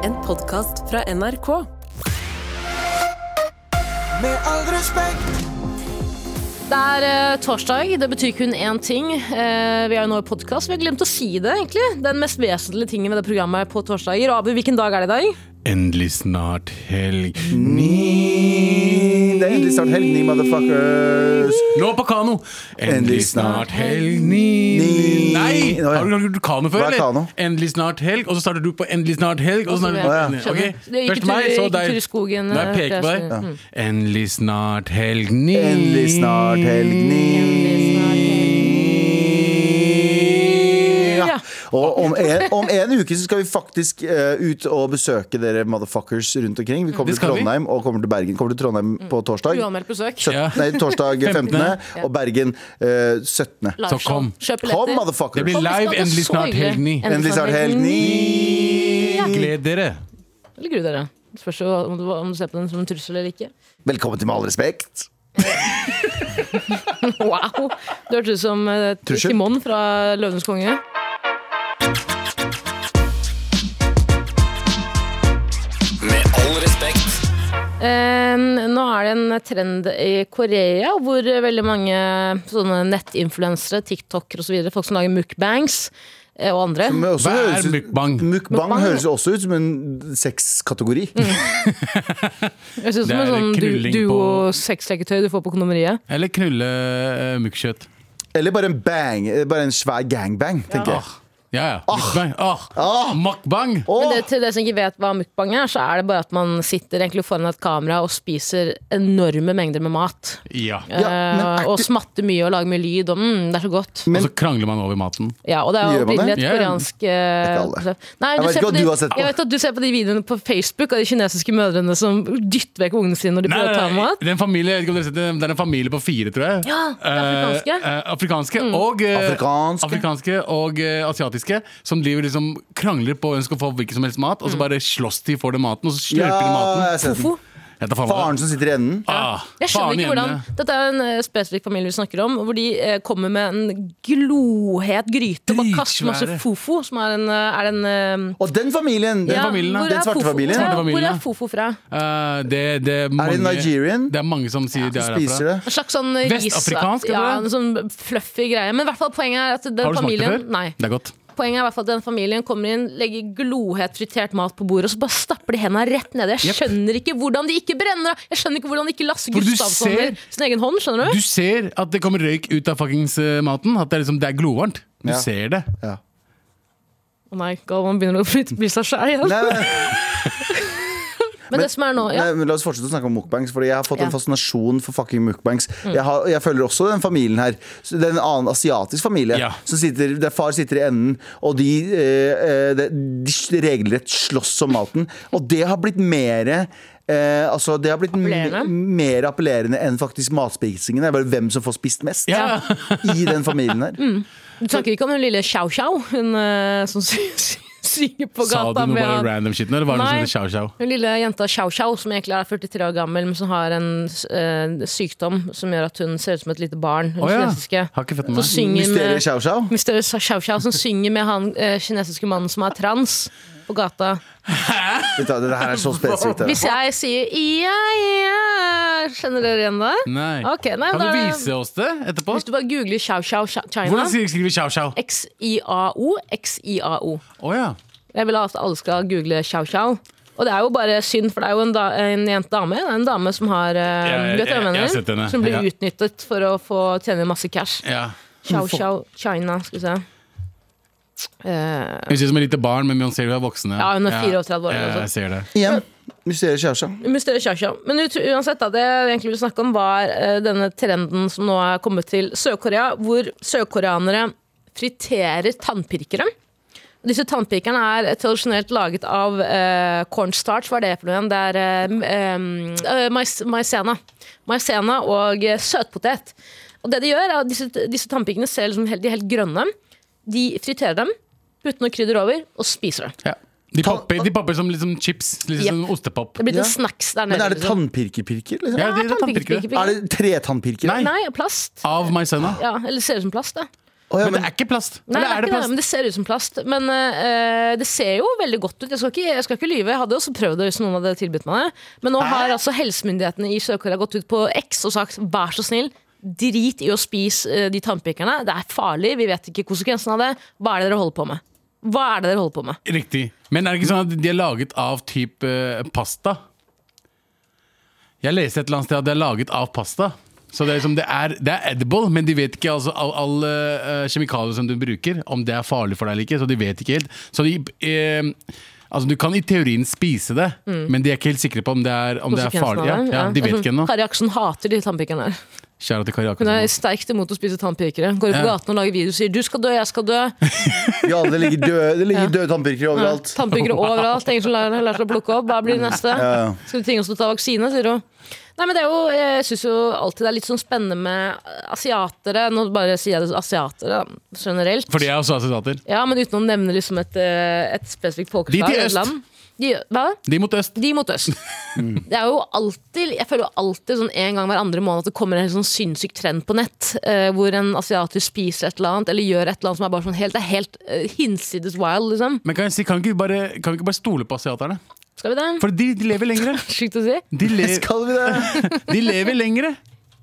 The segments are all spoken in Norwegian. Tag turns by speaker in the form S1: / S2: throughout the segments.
S1: podkast fra NRK.
S2: Med all respekt,
S3: Det er eh, torsdag, det betyr kun én ting. Eh, vi er jo nå i podkast. Vi har glemt å si det, egentlig. Den mest vesentlige tingen med det programmet er på torsdager. Og Abu, hvilken dag er det i dag?
S4: Endelig snart helg.
S2: ni Det er endelig snart helg, ni motherfuckers.
S4: Nå på kano! Endelig snart helg. Ni.
S2: Ni.
S4: Nei!
S2: Nå, ja.
S4: Har du lagd kano før,
S2: Hva er kano?
S4: Endelig snart helg, og så starter du på endelig snart helg. Og så
S3: Å, ja.
S4: starter du
S3: Skjønner.
S4: på
S3: Det
S4: okay.
S3: gikk
S4: Først
S3: tur-
S4: meg, så
S3: gikk tur
S4: deg.
S3: i skogen,
S4: Når jeg peker på
S3: eh,
S4: deg. Endelig snart helg. Ni.
S2: Endelig snart helg, ni ja.
S3: Ja.
S2: Og om en, om en uke så skal vi faktisk eh, ut og besøke dere motherfuckers rundt omkring. Vi kommer
S4: Det
S2: til
S4: skal vi.
S2: Trondheim og kommer til Bergen. Kommer til Trondheim på torsdag.
S3: Uanmeldt besøk.
S2: Sytt-
S4: Ja.
S2: Nei, torsdag 15.
S3: Mm. Ja.
S2: Og Bergen eh, 17.
S3: Liveshow.
S4: Så kom.
S3: Kjøp
S2: Kom,
S3: billetter.
S4: Det blir
S2: motherfuckers!
S3: Kom, vi skal-
S4: live
S3: det er
S4: endelig
S3: så
S4: snart
S3: hyggelig.
S4: helg. Ni.
S2: Endelig snart helg, ni
S4: Gled dere.
S3: Eller gruer dere? Spørs jo om du, om du ser på den som en trussel eller ikke.
S2: Velkommen til Med all respekt.
S3: Wow! Du hørtes ut som eh,
S2: Trussel?
S3: Timon fra Løvenes konge.
S5: Med all respekt.
S3: Eh, nå er det en trend i Korea hvor veldig mange sånne nettinfluensere, TikTokere osv., folk som lager mukbangs eh, og andre
S2: Men også
S4: Hva er
S2: høres ut-
S4: mukbang?
S2: Mukbang
S3: Mukbang, ja. Mm.
S2: høres jo også ut som en sexkategori.
S3: Jeg synes
S4: Det
S3: det er
S4: er
S3: sånn du,
S4: knulling
S3: duo-sexleketøy du får på kondomeriet.
S4: Eller knulle uh, mukkjøtt.
S2: Eller bare en bang, eh, bare en svær gangbang, tenker jeg.
S4: Ja, ja. Mukbang. Ah.
S2: Ah.
S4: Mukbang.
S2: Åh!
S3: Men det, til dere som ikke vet hva mukbang er, så er det bare at man sitter egentlig foran et kamera og spiser enorme mengder med mat.
S4: Ja.
S2: Ja, men er
S3: Eh, og
S2: ikke-
S3: smatter mye og lager mye lyd og mm, det er så godt.
S4: og så krangler man over maten.
S3: Ja, og det er jo
S2: Gjør man
S3: opprinnelig
S4: det?
S3: et
S4: Ja, ja.
S3: koreansk eh,
S2: Ikke alle.
S3: konsept. Nei,
S2: Jeg
S3: ser
S2: vet
S3: på
S2: ikke hva
S3: de-
S2: du har sett på.
S3: Jeg vet at du ser på de videoene på Facebook av de kinesiske mødrene som dytter vekk ungene sine når de
S4: Nei,
S3: prøver å ta
S4: nei,
S3: mat.
S4: det er en familie, jeg vet ikke om dere har sett det, det er en familie på fire, tror jeg.
S3: Ja, det er afrikanske. Mm.
S4: Eh, eh, afrikanske og, eh,
S2: Afrikanske.
S4: afrikanske og eh, asiatiske, som driver liksom krangler på å ønske å få hvilken som helst mat,
S3: Mm.
S4: og så bare slåss de for den maten, og så
S2: Ja,
S4: slurper de Ah, maten.
S2: jeg har sett den.
S3: Hvorfor?
S4: Jeg tar faen meg
S2: Faren
S4: det.
S2: som sitter i enden.
S4: Ah,
S3: Jeg skjønner
S4: faen i
S3: ikke hvordan
S4: emnet.
S3: Dette er en eh, spesifikk familie vi snakker om, hvor de eh, kommer med en glohet gryte og bare kaster masse
S4: Dritsvære.
S3: fofo, som er en, eh, er en eh,
S2: Og den familien!
S3: ja,
S4: familien, da.
S3: hvor
S2: Den
S3: er
S2: svarte
S3: fofo-
S2: familien.
S3: Ja,
S4: Svarte
S3: Hvor
S4: familien, ja.
S3: er fofo fra?
S4: Eh, det, det er, mange,
S2: Nigerian?
S4: Det er mange som sier de er herfra.
S2: Spiser det.
S3: En slags sånn ris
S4: Vestafrikansk,
S3: Ja,
S4: eller?
S3: en sånn fluffy greie. Men i hvert fall poenget er at den
S4: Har du smakt det
S3: familien
S4: før?
S3: Nei.
S4: Det er godt.
S3: Poenget er i hvert fall at den familien kommer inn, legger glohet fritert mat på bordet, og så bare stapper de hendene rett nedi. Jeg
S4: Jepp.
S3: skjønner ikke hvordan de ikke brenner av! Jeg skjønner ikke hvordan ikke Lasse
S4: For du
S3: Gustavsson
S4: ser-
S3: ser... sin egen hånd, skjønner du?
S4: Du ser at det kommer røyk ut av fuckings eh, maten. At det er, liksom, det er glovarmt. Du
S2: Ja.
S4: ser det.
S2: Ja.
S3: Å nei, Galvan begynner å flytte- bli seg sjæl igjen.
S2: Nei, nei,
S3: Men det som er nå, ja.
S2: nei, men la oss fortsette å snakke om mukbangs, Fordi jeg har fått
S3: Ja. Mm.
S2: en fascinasjon for fucking mukbangs. Jeg, har, jeg følger også den familien her. Så Det er en annen asiatisk familie.
S4: Ja.
S2: Som sitter, der far sitter i enden, og de, eh, eh, de, de regelrett slåss om maten. Og det har blitt mer Eh, altså, det har blitt
S3: Appellerende?
S2: m- mer appellerende enn faktisk matspisingen. Det er bare hvem som får spist mest
S4: Ja.
S2: i den familien her.
S3: Du snakker ikke om den lille Chow Chow, hun eh, som sy sy synger på
S4: Sa du
S3: gata
S4: noe
S3: med
S4: bare
S3: han-
S4: random shit nå, eller var det noe
S3: Nei.
S4: som heter chow-chow?
S3: Hun lille jenta Chow Chow, som egentlig er 43 år gammel, men som har en eh, sykdom som gjør at hun ser ut som et lite barn. Hun
S4: Å ja.
S3: kinesiske.
S4: Har ikke fått med
S3: Så
S4: meg.
S3: synger eh,
S2: Mysteriet
S3: med
S2: Chow Chow.
S3: Mr. Chow Chow som synger med han eh, kinesiske mannen som er trans på gata.
S2: Vet du hva, Det her er så spesifikt.
S3: Hvis jeg sier ja, ja Kjenner dere igjen det?
S4: Nei.
S3: Ok, nei,
S4: kan
S3: da
S4: du
S3: er det-
S4: vise oss det etterpå?
S3: Hvis du bare googler Chow Chow Chow- China
S4: Hvordan sier- skriver vi chow-chow?
S3: X-I-A-O, X-I-A-O.
S4: Å ja.
S3: Jeg vil at alle skal google Chow Chow. Og det er jo bare synd, for det er jo en, da, en jent dame Det er en dame som har eh,
S4: jeg-
S3: vet du hva jeg
S4: jeg- jeg har
S3: mener?
S4: sett henne,
S3: Som blir
S4: ja.
S3: utnyttet for å få tjene masse cash.
S4: ja.
S3: Chow Chow China, skal vi se. Eh,
S4: Hun ser ut som et lite barn, men man ser hun er voksen.
S3: Ja, hun er 34 år,
S4: Ja,
S3: altså.
S4: jeg ser det.
S2: Igjen, mysteriet Chow Chow.
S3: Mysteriet Kjasja. Men ut- uansett, da, det jeg egentlig vil snakke om, var eh, denne trenden som nå er kommet til Sør-Korea, hvor sørkoreanere friterer tannpirkere. Disse tannpirkerne er tradisjonelt laget av eh, cornstarch, hva er det for noe igjen? Det er eh, m- eh, mais, maisena. Maisena og eh, søtpotet. Og det de gjør, er at disse, disse tannpirkene ser liksom helt, de er helt grønne. De friterer dem, putter noe krydder over og spiser det.
S4: Ja. De,
S2: Ta-
S4: popper, de popper som liksom chips. Litt
S3: Jepp.
S4: sånn ostepop.
S3: Det blir
S2: Ja.
S3: en snacks der nede.
S2: Men er det
S3: liksom.
S2: tannpirkerpirker? Liksom?
S4: Ja,
S3: Ja,
S4: det er
S3: tannpirker,
S4: tannpirkere.
S3: pirker, pirker.
S2: Er det tretannpirker?
S4: Nei.
S3: Nei, plast.
S4: Av my sønna.
S3: Ja, eller ser ut som plast, det.
S2: Å, ja,
S4: Men det
S2: men-
S4: er ikke plast.
S3: Nei, det,
S4: Eller
S3: er
S4: er det
S3: ikke det,
S4: plast?
S3: men det ser ut som plast. Men eh, det ser jo veldig godt ut. Jeg skal, ikke, jeg skal ikke lyve. Jeg hadde også prøvd det hvis noen hadde tilbudt meg det. Men nå har altså helsemyndighetene i Sør-Korea gått ut på X og sagt vær så snill, drit i å spise eh, de tannpirkerne. Det er farlig, vi vet ikke konsekvensen av det. Hva er det dere holder på med? Hva er det dere holder på med?
S4: Riktig. Men er det ikke sånn at de er laget av type eh, pasta? Jeg leste et eller annet sted at de er laget av pasta. Så det er, liksom, det er, det er edible, men de vet ikke altså, all, all eh, kjemikalier som du bruker, om det er farlig for deg eller ikke. Så de vet ikke helt. Så de, eh, altså, du kan i teorien spise det, men de er ikke helt sikre på om det er, om Mm. det er farlig. Ja, ja, Mm-hmm. de vet ikke ennå.
S3: Kari Aksen hater de tannpirkerne her.
S4: Kjære til Kari
S3: Hun er
S4: Akelsson.
S3: sterkt imot å spise tannpirkere. Går ut på
S4: Ja.
S3: gaten og lager video og sier 'du skal dø, jeg skal dø'.
S2: Ja, det ligger døde, det ligger døde tannpirkere overalt.
S3: Tannpirkere overalt. Ingen som lærer, lærer seg å plukke opp. Hva blir det neste? Skal du tvinge oss til å ta vaksine, sier hun. Nei, men det er jo, Jeg syns jo alltid det er litt sånn spennende med asiatere. Nå bare sier jeg det så- asiatere da, generelt.
S4: For de er også asiater.
S3: Ja, Men uten å nevne liksom et, eh, et spesifikt folkeslag.
S4: De til
S3: eller
S4: øst.
S3: land. De, hva?
S4: De mot øst.
S3: De mot øst. Det er jo alltid, jeg føler jo alltid sånn en gang hver andre måned at det kommer en helt sånn sinnssyk trend på nett, eh, hvor en asiater spiser et eller annet, eller gjør et eller annet som er bare sånn helt, det er helt eh, hinsides wild, liksom.
S4: Men kan, jeg si, kan, vi ikke bare, kan vi ikke bare stole på asiaterne?
S3: Skal vi det?
S4: For de, de lever lengre.
S3: Sykt å si.
S4: De, le,
S2: Skal vi det?
S4: de lever lengre.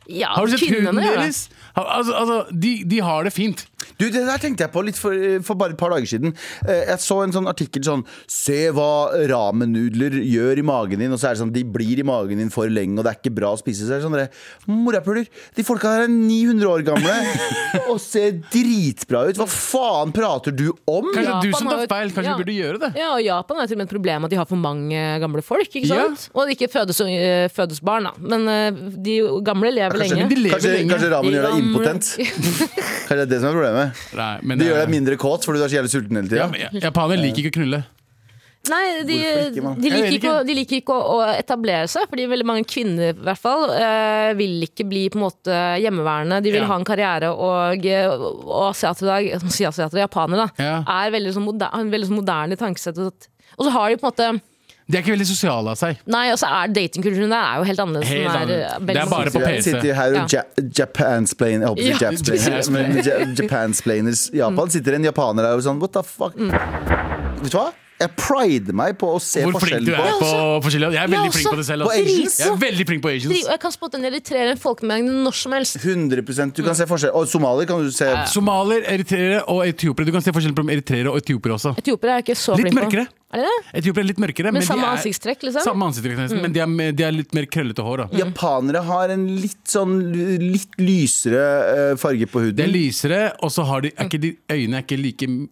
S3: Ja,
S4: Har du sett huden
S3: kvinnene gjør det.
S4: deres? Har- Altså, altså, de, de har det fint.
S2: Du, Det der tenkte jeg på litt for, eh, for bare et par dager siden. Eh, Jeg så en sånn artikkel sånn Se hva ramenudler gjør i magen din. Og så er det sånn, de blir i magen din for lenge, og det er ikke bra å spise. Så er det sånn, dere, Morapuler, de folka her er 900 år gamle og ser dritbra ut. Hva faen prater du om?
S4: Kanskje
S3: Japan
S4: du som
S3: har
S4: tar
S3: jo-
S4: feil. Kanskje
S3: ja.
S4: vi burde gjøre det?
S3: Ja, og Japan er til og med et problem at de har for mange eh, gamle folk. Ikke
S4: Ja.
S3: sant? Og det ikke fødes, øh, fødes barn, da. Men øh, de gamle lever
S2: Kanskje,
S3: lenge.
S4: de lever
S2: kanskje,
S4: lenge.
S2: kanskje ramen
S3: De
S2: gjør deg
S3: gamle-
S2: impotent? Kanskje det er det som er problemet?
S4: Nei, men,
S2: Det gjør
S4: eh,
S2: deg mindre kåt fordi du er så jævlig sulten hele
S4: ja,
S2: tida?
S4: men ja, Japanere liker ikke å knulle.
S3: Nei, de,
S2: Hvorfor ikke, mann?
S3: de,
S4: Jeg
S3: liker
S4: vet
S3: ikke, å- de liker ikke å, å etablere seg, fordi veldig mange kvinner i hvert fall øh, vil ikke bli på en måte hjemmeværende. De vil
S4: Ja.
S3: ha en karriere, og, øh, og asiater i dag, som sier asiater, japanere, da,
S4: Ja.
S3: er veldig sånn moder, har en veldig sånn moderne tankesett. og sånt. Og så har de på en måte
S4: De er ikke veldig sosiale av seg.
S3: Nei, og så er datingkulturen der er jo helt annerledes.
S4: Helt
S3: Den er,
S4: annerledes.
S3: øh,
S4: Det er
S3: veldig
S4: bare på
S3: sånn-
S4: PC.
S2: sitter her og ja.
S3: Ja.
S2: japansplain Jeg håper ikke
S3: Ja. Mm.
S2: japsplain Men ja- japansplainers i Japan Sitter en japaner her og sånn What the fuck Vet du hva? Jeg prider meg på å se
S4: Hvor flink
S2: forskjellen
S4: du er
S2: på
S4: på
S3: Ja,
S4: forskjellige Jeg er
S3: Ja,
S4: veldig
S3: også.
S4: flink på det selv.
S2: På
S4: altså.
S2: Asians?
S4: Jeg er veldig flink på
S3: Dri-
S4: Asians.
S3: Og jeg kan spotte en eritreer i en folkemengde når som helst.
S2: 100% Du kan se forskjell Og somalier kan du se
S4: Somalier, eritreere og etiopiere. Du kan se forskjell på eritreere og etiopiere også.
S3: Etiopiere er jeg ikke så flink
S4: Litt
S3: på.
S4: mørkere.
S3: Er det det?
S4: Etiopiere er litt mørkere,
S3: Med
S4: men,
S3: samme
S4: de, er,
S3: ansiktstrekk, liksom?
S4: samme ansiktstrekk nesten, men de er, med- de er litt mer krøllete
S3: Mm.
S4: hår. Da.
S2: Japanere har en litt sånn Litt lysere eh, farge på huden
S4: De er lysere, og så har de, er ikke de øynene er ikke like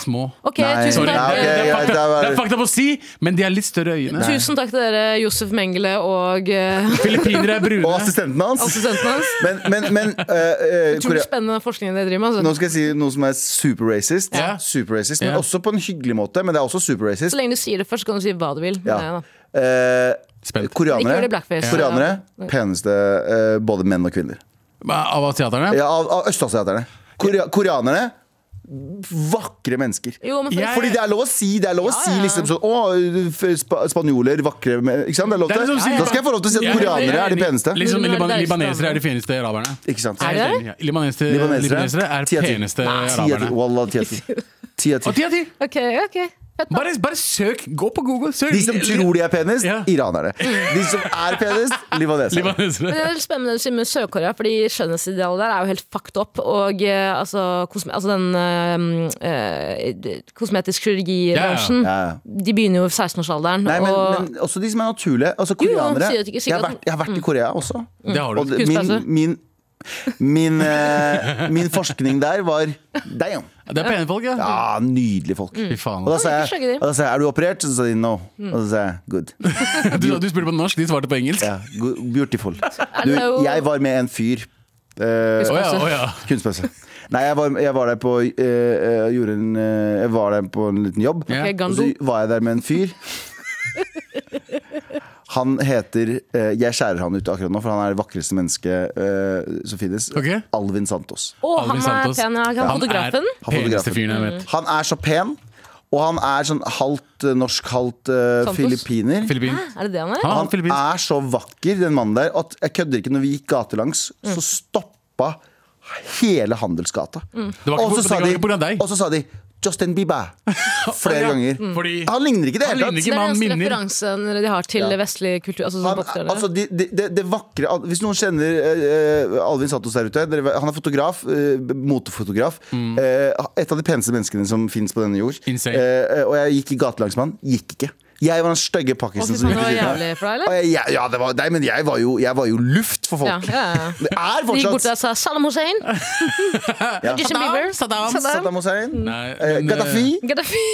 S4: små.
S3: Ok,
S2: Nei,
S3: tusen
S4: Sorry,
S3: takk.
S2: Nei, ok,
S4: det, det,
S2: ja,
S4: er fakta,
S2: det var-
S4: det er fakta på å si, men de er litt større øyne.
S3: Eh, Tusen takk til dere, Josef Mengele og eh,
S4: Filippinere er
S2: Og
S4: brune.
S2: assistenten hans
S3: assistenten hans.
S2: Men, men, men eh, eh,
S3: Utrolig
S2: Korea
S3: spennende forskningen dere driver med.
S2: nå
S3: Altså.
S2: skal jeg si noe som er super racist,
S4: Ja.
S2: super racist Men
S4: Ja.
S2: også på en hyggelig måte Men det er også super racist
S3: Så lenge du sier det først, så kan du si hva du vil.
S2: Ja.
S3: Men, ja, da.
S2: Eh,
S4: Spent.
S3: Ikke gjør
S2: koreanere,
S3: det blackface.
S2: koreanere peneste eh, både menn og kvinner.
S4: Av asiaterne?
S2: Ja, av av østasiaterne. Korea, koreanere vakre mennesker.
S3: Jo, men for,
S4: Jeg-
S2: Fordi det er lov å si det er lov å
S3: Ja,
S2: si
S3: ja.
S2: liksom sånn Å, f- spa spanjoler, vakre men-» Ikke sant? Det er lov
S4: Det er
S2: til.
S4: liksom å si-
S2: Da skal jeg få lov til å si
S4: Ja,
S2: at koreanere er de peneste.
S4: Liksom,
S3: Men er det
S4: liban
S3: deiligste
S4: libanesere
S3: landet?
S4: er de fineste araberne.
S2: Ikke sant?
S3: Er det?
S4: Ja, Libanesere,
S2: Libanesere?
S4: Eh, libanesere er
S2: Ti av ti.
S4: peneste
S2: Ti av ti.
S4: araberne.
S2: Wallah, ti av ti. Ti av
S4: Og
S2: ti.
S4: ti av ti!
S3: Ok, ok. Fett, da.
S4: Bare, bare søk. Gå på Google. Søk.
S2: De som tror de er penest,
S4: Ja.
S2: iranerne. De som er penest,
S3: Men
S2: libanesere.
S4: Libanesere.
S3: det er litt spennende det du sier med Sør-Korea, fordi skjønnhetsidealet der er jo helt fucked up. Og eh, altså, kosme, altså den eh, eh, kosmetisk kirurgibransjen
S2: Ja, ja.
S3: De begynner jo i 16-årsalderen.
S2: Nei, men,
S3: og-
S2: men også de som er naturlige. Altså
S3: jo,
S2: koreanere.
S3: sier at mm. ikke-
S2: jeg, har
S3: sikkert-
S2: vært, jeg har vært i Korea også.
S4: Det har du.
S2: Og det- min,
S3: Kunstpause.
S2: min, min, eh, min forskning der var Damn!
S4: Det er pene folk, ja.
S2: Ja, nydelige folk.
S3: Mm.
S4: Fy faen.
S2: Og da sa
S3: Oi, ikke skjønner
S2: jeg,
S3: de.
S2: og da sa jeg er du operert? Så sa de no.
S3: Mm.
S2: Og så sa jeg good.
S4: Du, du spurte på norsk, de svarte på engelsk. Å
S2: Ja, good beautiful. Du,
S3: det jo-
S2: jeg var med en fyr. eh,
S4: ja, å ja.
S2: Kunstpause. Nei, jeg var, jeg var der på eh, eh, gjorde en, eh, Jeg var der på en liten jobb.
S4: Ja.
S3: Ok,
S2: Og så
S3: Gando.
S2: var jeg der med en fyr. Han heter eh, Jeg skjærer han ut akkurat nå, for han er det vakreste mennesket eh, som finnes.
S4: Ok.
S2: Alvin Santos.
S3: Å, han
S4: Alvin
S3: er
S4: Santos.
S3: pen, ja. Han
S4: Han
S3: fotografen.
S4: er peneste fyren jeg vet.
S2: Han er så pen, og han er sånn halvt eh, norsk, halvt eh,
S3: Santos?
S2: filippiner.
S4: Filippin.
S3: Er det det han er?
S4: Han,
S2: Han
S4: filippinsk.
S3: Mm.
S2: er så vakker, den mannen der, at jeg kødder ikke. Når vi gikk gatelangs, så stoppa hele Handelsgata.
S3: Mm.
S4: Det var ikke
S2: Og
S4: på-
S2: så
S4: det
S2: sa
S4: var
S2: de-
S4: ikke på grunn av deg.
S2: Og så sa de Justin Bieber flere
S4: Ja, Mm.
S2: ganger.
S3: Mm.
S4: fordi-
S2: han ligner ikke i det
S4: Han
S2: hele tatt.
S4: ligner ikke,
S3: Det er
S4: men
S3: den
S4: han
S3: eneste
S4: minner.
S3: referansen de har til vestlig kultur. Altså, sånn
S2: Han,
S3: popstjerne.
S2: altså de, de, det- det vakre Hvis noen kjenner eh, Alvin Santos der ute dere, Han er fotograf, eh, motefotograf eh, Et av de peneste menneskene som finnes på denne jord
S4: Mm. Insane.
S2: Eh, Og jeg gikk i gatelangs med han Gikk ikke Jeg var den stygge
S3: Å, fy
S2: pakkisen
S3: faen, det var jævlig for deg,
S2: Og
S3: eller?
S2: jeg, jeg- ja, det var, nei, men jeg var, jo, jeg var jo luft for
S3: Ja,
S2: folk
S3: ja, ja.
S2: Det er
S3: De gikk bort
S2: fortsatt
S3: og sa Saddam Hussein. Justin Bieber.
S4: Saddam,
S3: Saddam.
S2: Saddam Hussein
S3: Mm.
S4: Nei,
S2: eh,
S4: men, eh,
S2: Gaddafi
S3: Gaddafi.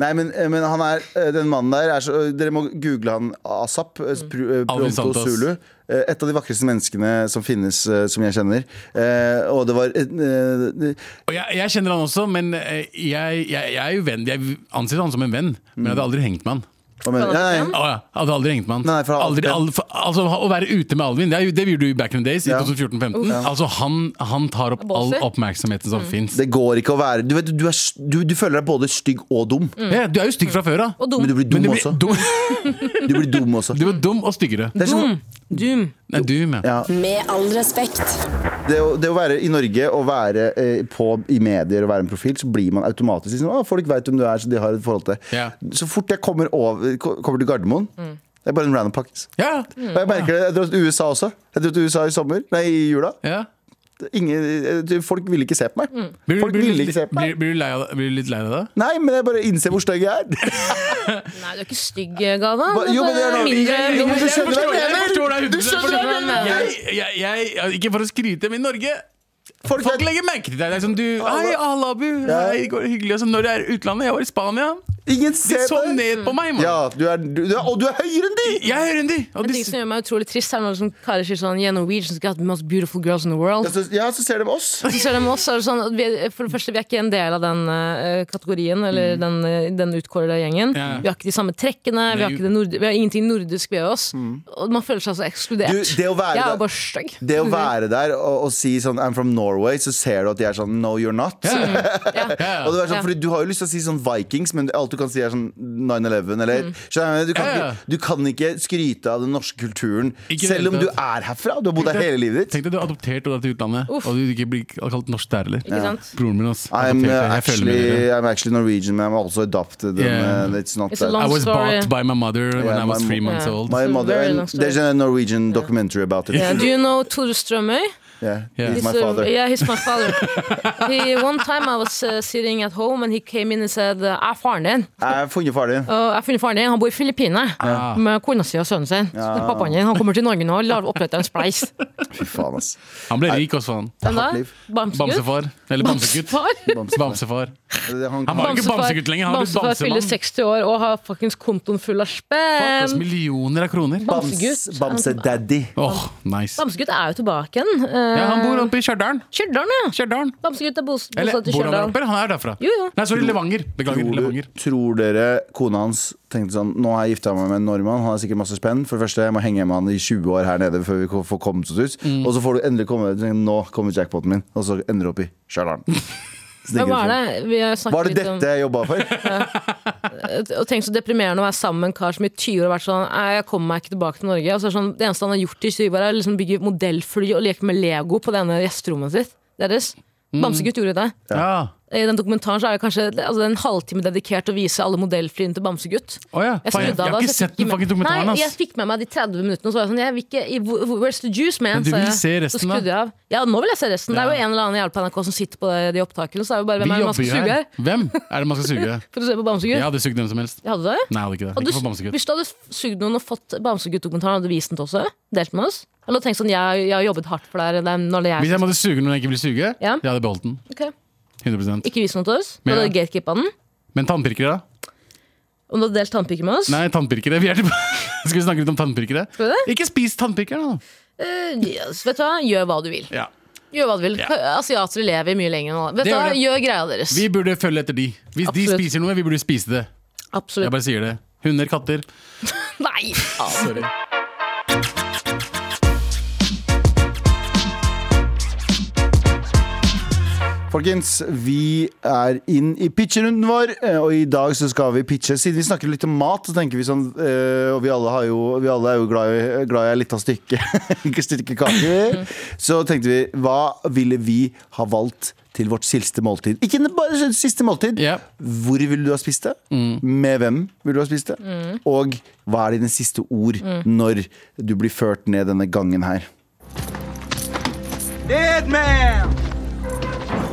S2: Nei, men, eh, men han er, eh, den mannen der er så, eh, Dere må google han ASAP. eh,
S3: Mm.
S2: Pr eh,
S4: Alvin
S2: Pronto
S4: Santos.
S2: Zulu. Eh, Et av de vakreste menneskene som finnes, eh, som jeg kjenner. Eh, Og det var eh, eh,
S4: Og jeg, jeg kjenner han også, men eh, jeg, jeg, jeg er jo venn. Jeg anser han som en venn, men jeg hadde aldri hengt med han.
S2: Hva mener du? Nei, nei,
S4: Å ja, jeg hadde aldri hengt med han.
S2: Nei, for han-
S4: aldri, al- for, altså, å være ute med Alvin, det, er jo- det gjorde du i back in the days. I
S2: Ja.
S4: 2014-15 Altså han, han tar opp all
S3: Bossy.
S4: oppmerksomheten som finnes
S2: det går ikke å være Du, vet, du, er, s- du, du føler deg både stygg og dum.
S3: Mm.
S4: Ja, du er jo stygg fra før av.
S3: Og dum.
S2: Men du blir dum
S4: Men du blir
S2: også.
S4: dum,
S2: Du blir dum også.
S4: du blir dum og styggere.
S2: Det er
S3: Mm.
S2: som,
S3: Doom.
S4: Nei, du, men.
S2: ja.
S1: Med all respekt.
S2: det, å, det å være i Norge og være eh, på, i medier og være en profil, så blir man automatisk liksom, «Å, Folk vet hvem du er, så de har et forhold til deg.
S4: Ja.
S2: Så fort jeg kommer, over, ko- kommer til Gardermoen Det er bare en random pakkis.
S4: Ja,
S2: Og jeg merker det, jeg dro til USA også. Jeg dro til USA i sommer, nei, i jula.
S4: ja.
S2: Ingen, eh, folk ville ikke se på meg.
S4: Blir, du- blir,
S2: Folk
S4: du
S2: ville
S4: litt-
S2: ikke se på meg.
S4: blir, blir, du lei av, blir du litt lei av det?
S2: Nei, men jeg bare innser hvor stygg jeg er.
S3: Nei, du er ikke stygg, Galvan.
S2: Hva- jo, men det er noe-
S3: mindre
S2: Jo, men du
S4: Jeg
S2: skjønner
S4: forstår-
S2: hva jeg
S4: jeg
S2: mener.
S4: forstår deg
S2: Du
S4: 100%.
S2: skjønner hva jeg mener.
S4: Jeg, jeg, jeg, jeg, ikke for å skryte, men i Norge
S2: Folk
S4: Folk
S2: vet
S4: legger merke til deg. Det er som du Hei, Allah, Abu.
S2: Ja.
S4: Hei, går det hyggelig. Og så når du er i utlandet Jeg var i Spania.
S2: ingen
S4: De
S2: ser
S4: så
S2: på deg.
S4: ned på meg, mann.
S2: Ja, du er, du, du er, og du er høyere enn de!
S4: Jeg hører enn de. Og
S3: Det
S4: de
S3: som gjør meg utrolig trist, er når liksom karer sier sånn Yeah, Norwegians got the most beautiful girls in the world.
S2: Ja, så, ja, så ser de oss.
S3: Så ser de oss, så er det sånn, at vi, er- for det første, vi er ikke en del av den eh, kategorien, eller den, eh, den utkårede gjengen.
S4: Ja.
S3: Vi har ikke de samme trekkene, vi har,
S4: Nei.
S3: ikke det nord, vi har ingenting nordisk ved oss. Og man føler seg altså ekskludert.
S2: Mm. Du, det å være
S3: jeg er
S2: der-
S3: jo bare stygg.
S2: Det
S4: Mhm.
S2: å være der og, og si sånn I'm from Norway, så ser du at de er sånn No, you're not.
S3: Ja.
S4: Mm. Ja.
S2: Og det er sånn,
S3: Ja.
S2: fordi du har jo lyst til å si sånn Vikings, men alt du kan si er sånn 9-11. Eller,
S3: Mm.
S2: Skjønner du, hva jeg mener? du, kan
S4: Ja, ja.
S2: ikke, du kan ikke skryte av den norske kulturen
S4: Ikke i det hele
S2: selv om du
S4: tatt.
S2: er herfra. Du har bodd her hele livet ditt.
S4: Tenk deg du er adoptert og drar til utlandet,
S3: Uff.
S4: og du ikke blir kalt norsk der heller.
S3: Ikke sant?
S4: Broren min, ass.
S2: I'm,
S4: Adoptert,
S2: uh,
S4: jeg føler med
S2: actually,
S4: dere.
S2: I'm actually Norwegian, but I'm also adopted.
S4: Yeah.
S2: And, uh, it's not
S3: It's a
S2: that-
S3: long
S4: I was
S3: story.
S4: bought by my mother when
S2: Yeah,
S4: I was
S2: my
S4: three
S2: mom-
S4: months
S3: Yeah.
S4: old.
S2: My
S3: It's a
S2: mother,
S3: very
S2: and
S3: long story.
S2: there's a Norwegian documentary about it.
S3: Yeah,
S2: Yeah.
S3: do you know Tore Strømøy?
S4: Yeah.
S2: He's my
S3: He's a-
S2: father.
S3: Yeah, he's my father. he, one time I was uh, sitting at home and he came in and said uh, Jeg er faren din.
S2: Jeg har funnet faren din.
S3: Og jeg har funnet faren din. Han bor i Filippinene
S4: Ah.
S3: med kona si og sønnen sin. Så Pappaen din han kommer til Norge nå og lar opprette en spleis.
S2: Fy faen, ass.
S4: Han ble rik også, han.
S3: Den
S2: hardt
S3: der,
S2: liv.
S3: Bamsegutt.
S4: Bamsefar. Eller bamsegutt.
S3: Bamsefar. Um,
S4: Bamsefar.
S2: Han,
S4: Han var jo ikke
S3: Bamsefar-
S4: bamsegutt lenger, han ble
S3: Bamsefar fyller
S4: bamsemann.
S3: 60 år og har fuckings kontoen full av
S4: Fattes
S3: spenn.
S4: millioner av kroner. Åh,
S2: Bams,
S3: Bamsegutt.
S2: Bamse-daddy.
S4: nice.
S3: Bamsegutt er jo tilbake igjen. Eh,
S4: Ja, han bor oppe i Stjørdal.
S3: Stjørdal, ja.
S4: Stjørdal.
S3: Bamsegutt er bos-
S4: Eller
S3: bosatt i
S4: bor han der
S3: Stjørdal.
S4: oppe? Han er derfra.
S3: Jo, jo.
S4: Nei, sorry, Levanger. Beklager,
S2: Tror, du,
S4: Levanger.
S2: tror dere kona hans tenkte sånn Nå har jeg gifta meg med en nordmann, han har sikkert masse spenn. For det første, jeg må henge med han i 20 år her nede før vi ko- får kommet oss ut. Og så får du endelig komme deg Nå kommer jackpoten min, og så ender du opp i Stjørdal.
S3: Men
S2: Snikker
S3: hva er
S2: du sånn.
S3: det? Vi har snakket
S2: Var det
S3: litt om-
S2: dette jeg jobba for?
S3: Og tenk så deprimerende å være sammen med en kar som i 20 år har vært sånn Nei, jeg kommer meg ikke tilbake til Norge. Og så er det sånn, det eneste han har gjort i 20 år, er liksom bygge modellfly og leke med Lego på det ene gjesterommet sitt. Deres.
S4: Mm.
S3: Bamsegutt gjorde det.
S4: Ja.
S3: I den dokumentaren så er det kanskje altså, det er en halvtime dedikert til å vise alle modellflyene til Bamsegutt.
S4: Å ja.
S3: Jeg
S4: Faen, jeg,
S3: skrudde av
S4: jeg har
S3: da, så
S4: ikke
S3: jeg
S4: sett
S3: fikk
S4: den
S3: med-
S4: fucking dokumentaren
S3: Nei,
S4: hans.
S3: jeg fikk med meg de 30 minuttene, og så var jeg sånn Jeg vil ikke i- hvor- Where's the juice, man?
S4: Men du
S3: sa
S4: vil
S3: jeg.
S4: se
S3: Så
S4: resten,
S3: skrudde
S4: da?
S3: jeg av. Ja, nå vil jeg se resten. Det er jo
S4: Ja.
S3: en eller annen i på NRK som sitter på det- de opptakene, så er det jo bare
S4: Vi
S3: hvem er det man
S4: jobber
S3: skal
S4: jo
S3: suge her?
S4: her. Hvem er det man skal suge?
S3: For å se på Bamsegutt?
S4: Jeg hadde sugd hvem som helst.
S3: Hadde du det?
S4: Nei, jeg hadde ikke det.
S3: Og
S4: Ikke for
S3: du,
S4: bamsegutt.
S3: hvis du hadde sugd noen og fått Bamsegutt-dokumentaren, hadde du vist den til oss også? Delt med oss? Eller tenkt sånn, jeg, jeg har jobbet hardt for deg, det er når det er
S4: Hvis jeg måtte suge noen jeg ikke ville suge,
S3: Ja.
S4: jeg hadde beholdt den.
S3: Ok.
S4: 100
S3: Ikke vist den til oss? Du
S4: Men-
S3: hadde gatekeepa den?
S4: Men tannpirkere, da?
S3: Om du hadde delt tannpiker med oss?
S4: Nei, tannpirkere. Vi er tilbake. Skal vi snakke litt om tannpirkere?
S3: Skal vi
S4: Ikke spis tannpirkere, da.
S3: Eh, yes, vet du hva? Gjør hva du vil.
S4: Ja.
S3: Gjør hva du vil.
S4: Ja.
S3: Asiater lever mye lenger enn alle. Vet
S4: Det
S3: du
S4: gjør
S3: hva?
S4: det.
S3: Gjør greia deres.
S4: Vi burde følge etter de. Hvis
S3: Absolutt.
S4: de spiser noe, vi burde spise det.
S3: Absolutt.
S4: Jeg bare sier det. Hunder, katter.
S3: Nei!
S4: Sorry.
S2: Folkens, vi er inn i pitcherunden vår, eh, og i dag så skal vi pitche. Siden vi snakker litt om mat, så tenker vi sånn eh, Og vi alle, har jo, vi alle er jo glad i, glad i en liten stykke, ikke stykke kake. Så tenkte vi, hva ville vi ha valgt til vårt siste måltid? Ikke bare siste måltid.
S4: Ja.
S2: Hvor ville du ha spist det? Med hvem ville du ha spist det? Og hva er dine siste ord når du blir ført ned denne gangen her?
S1: Dead man!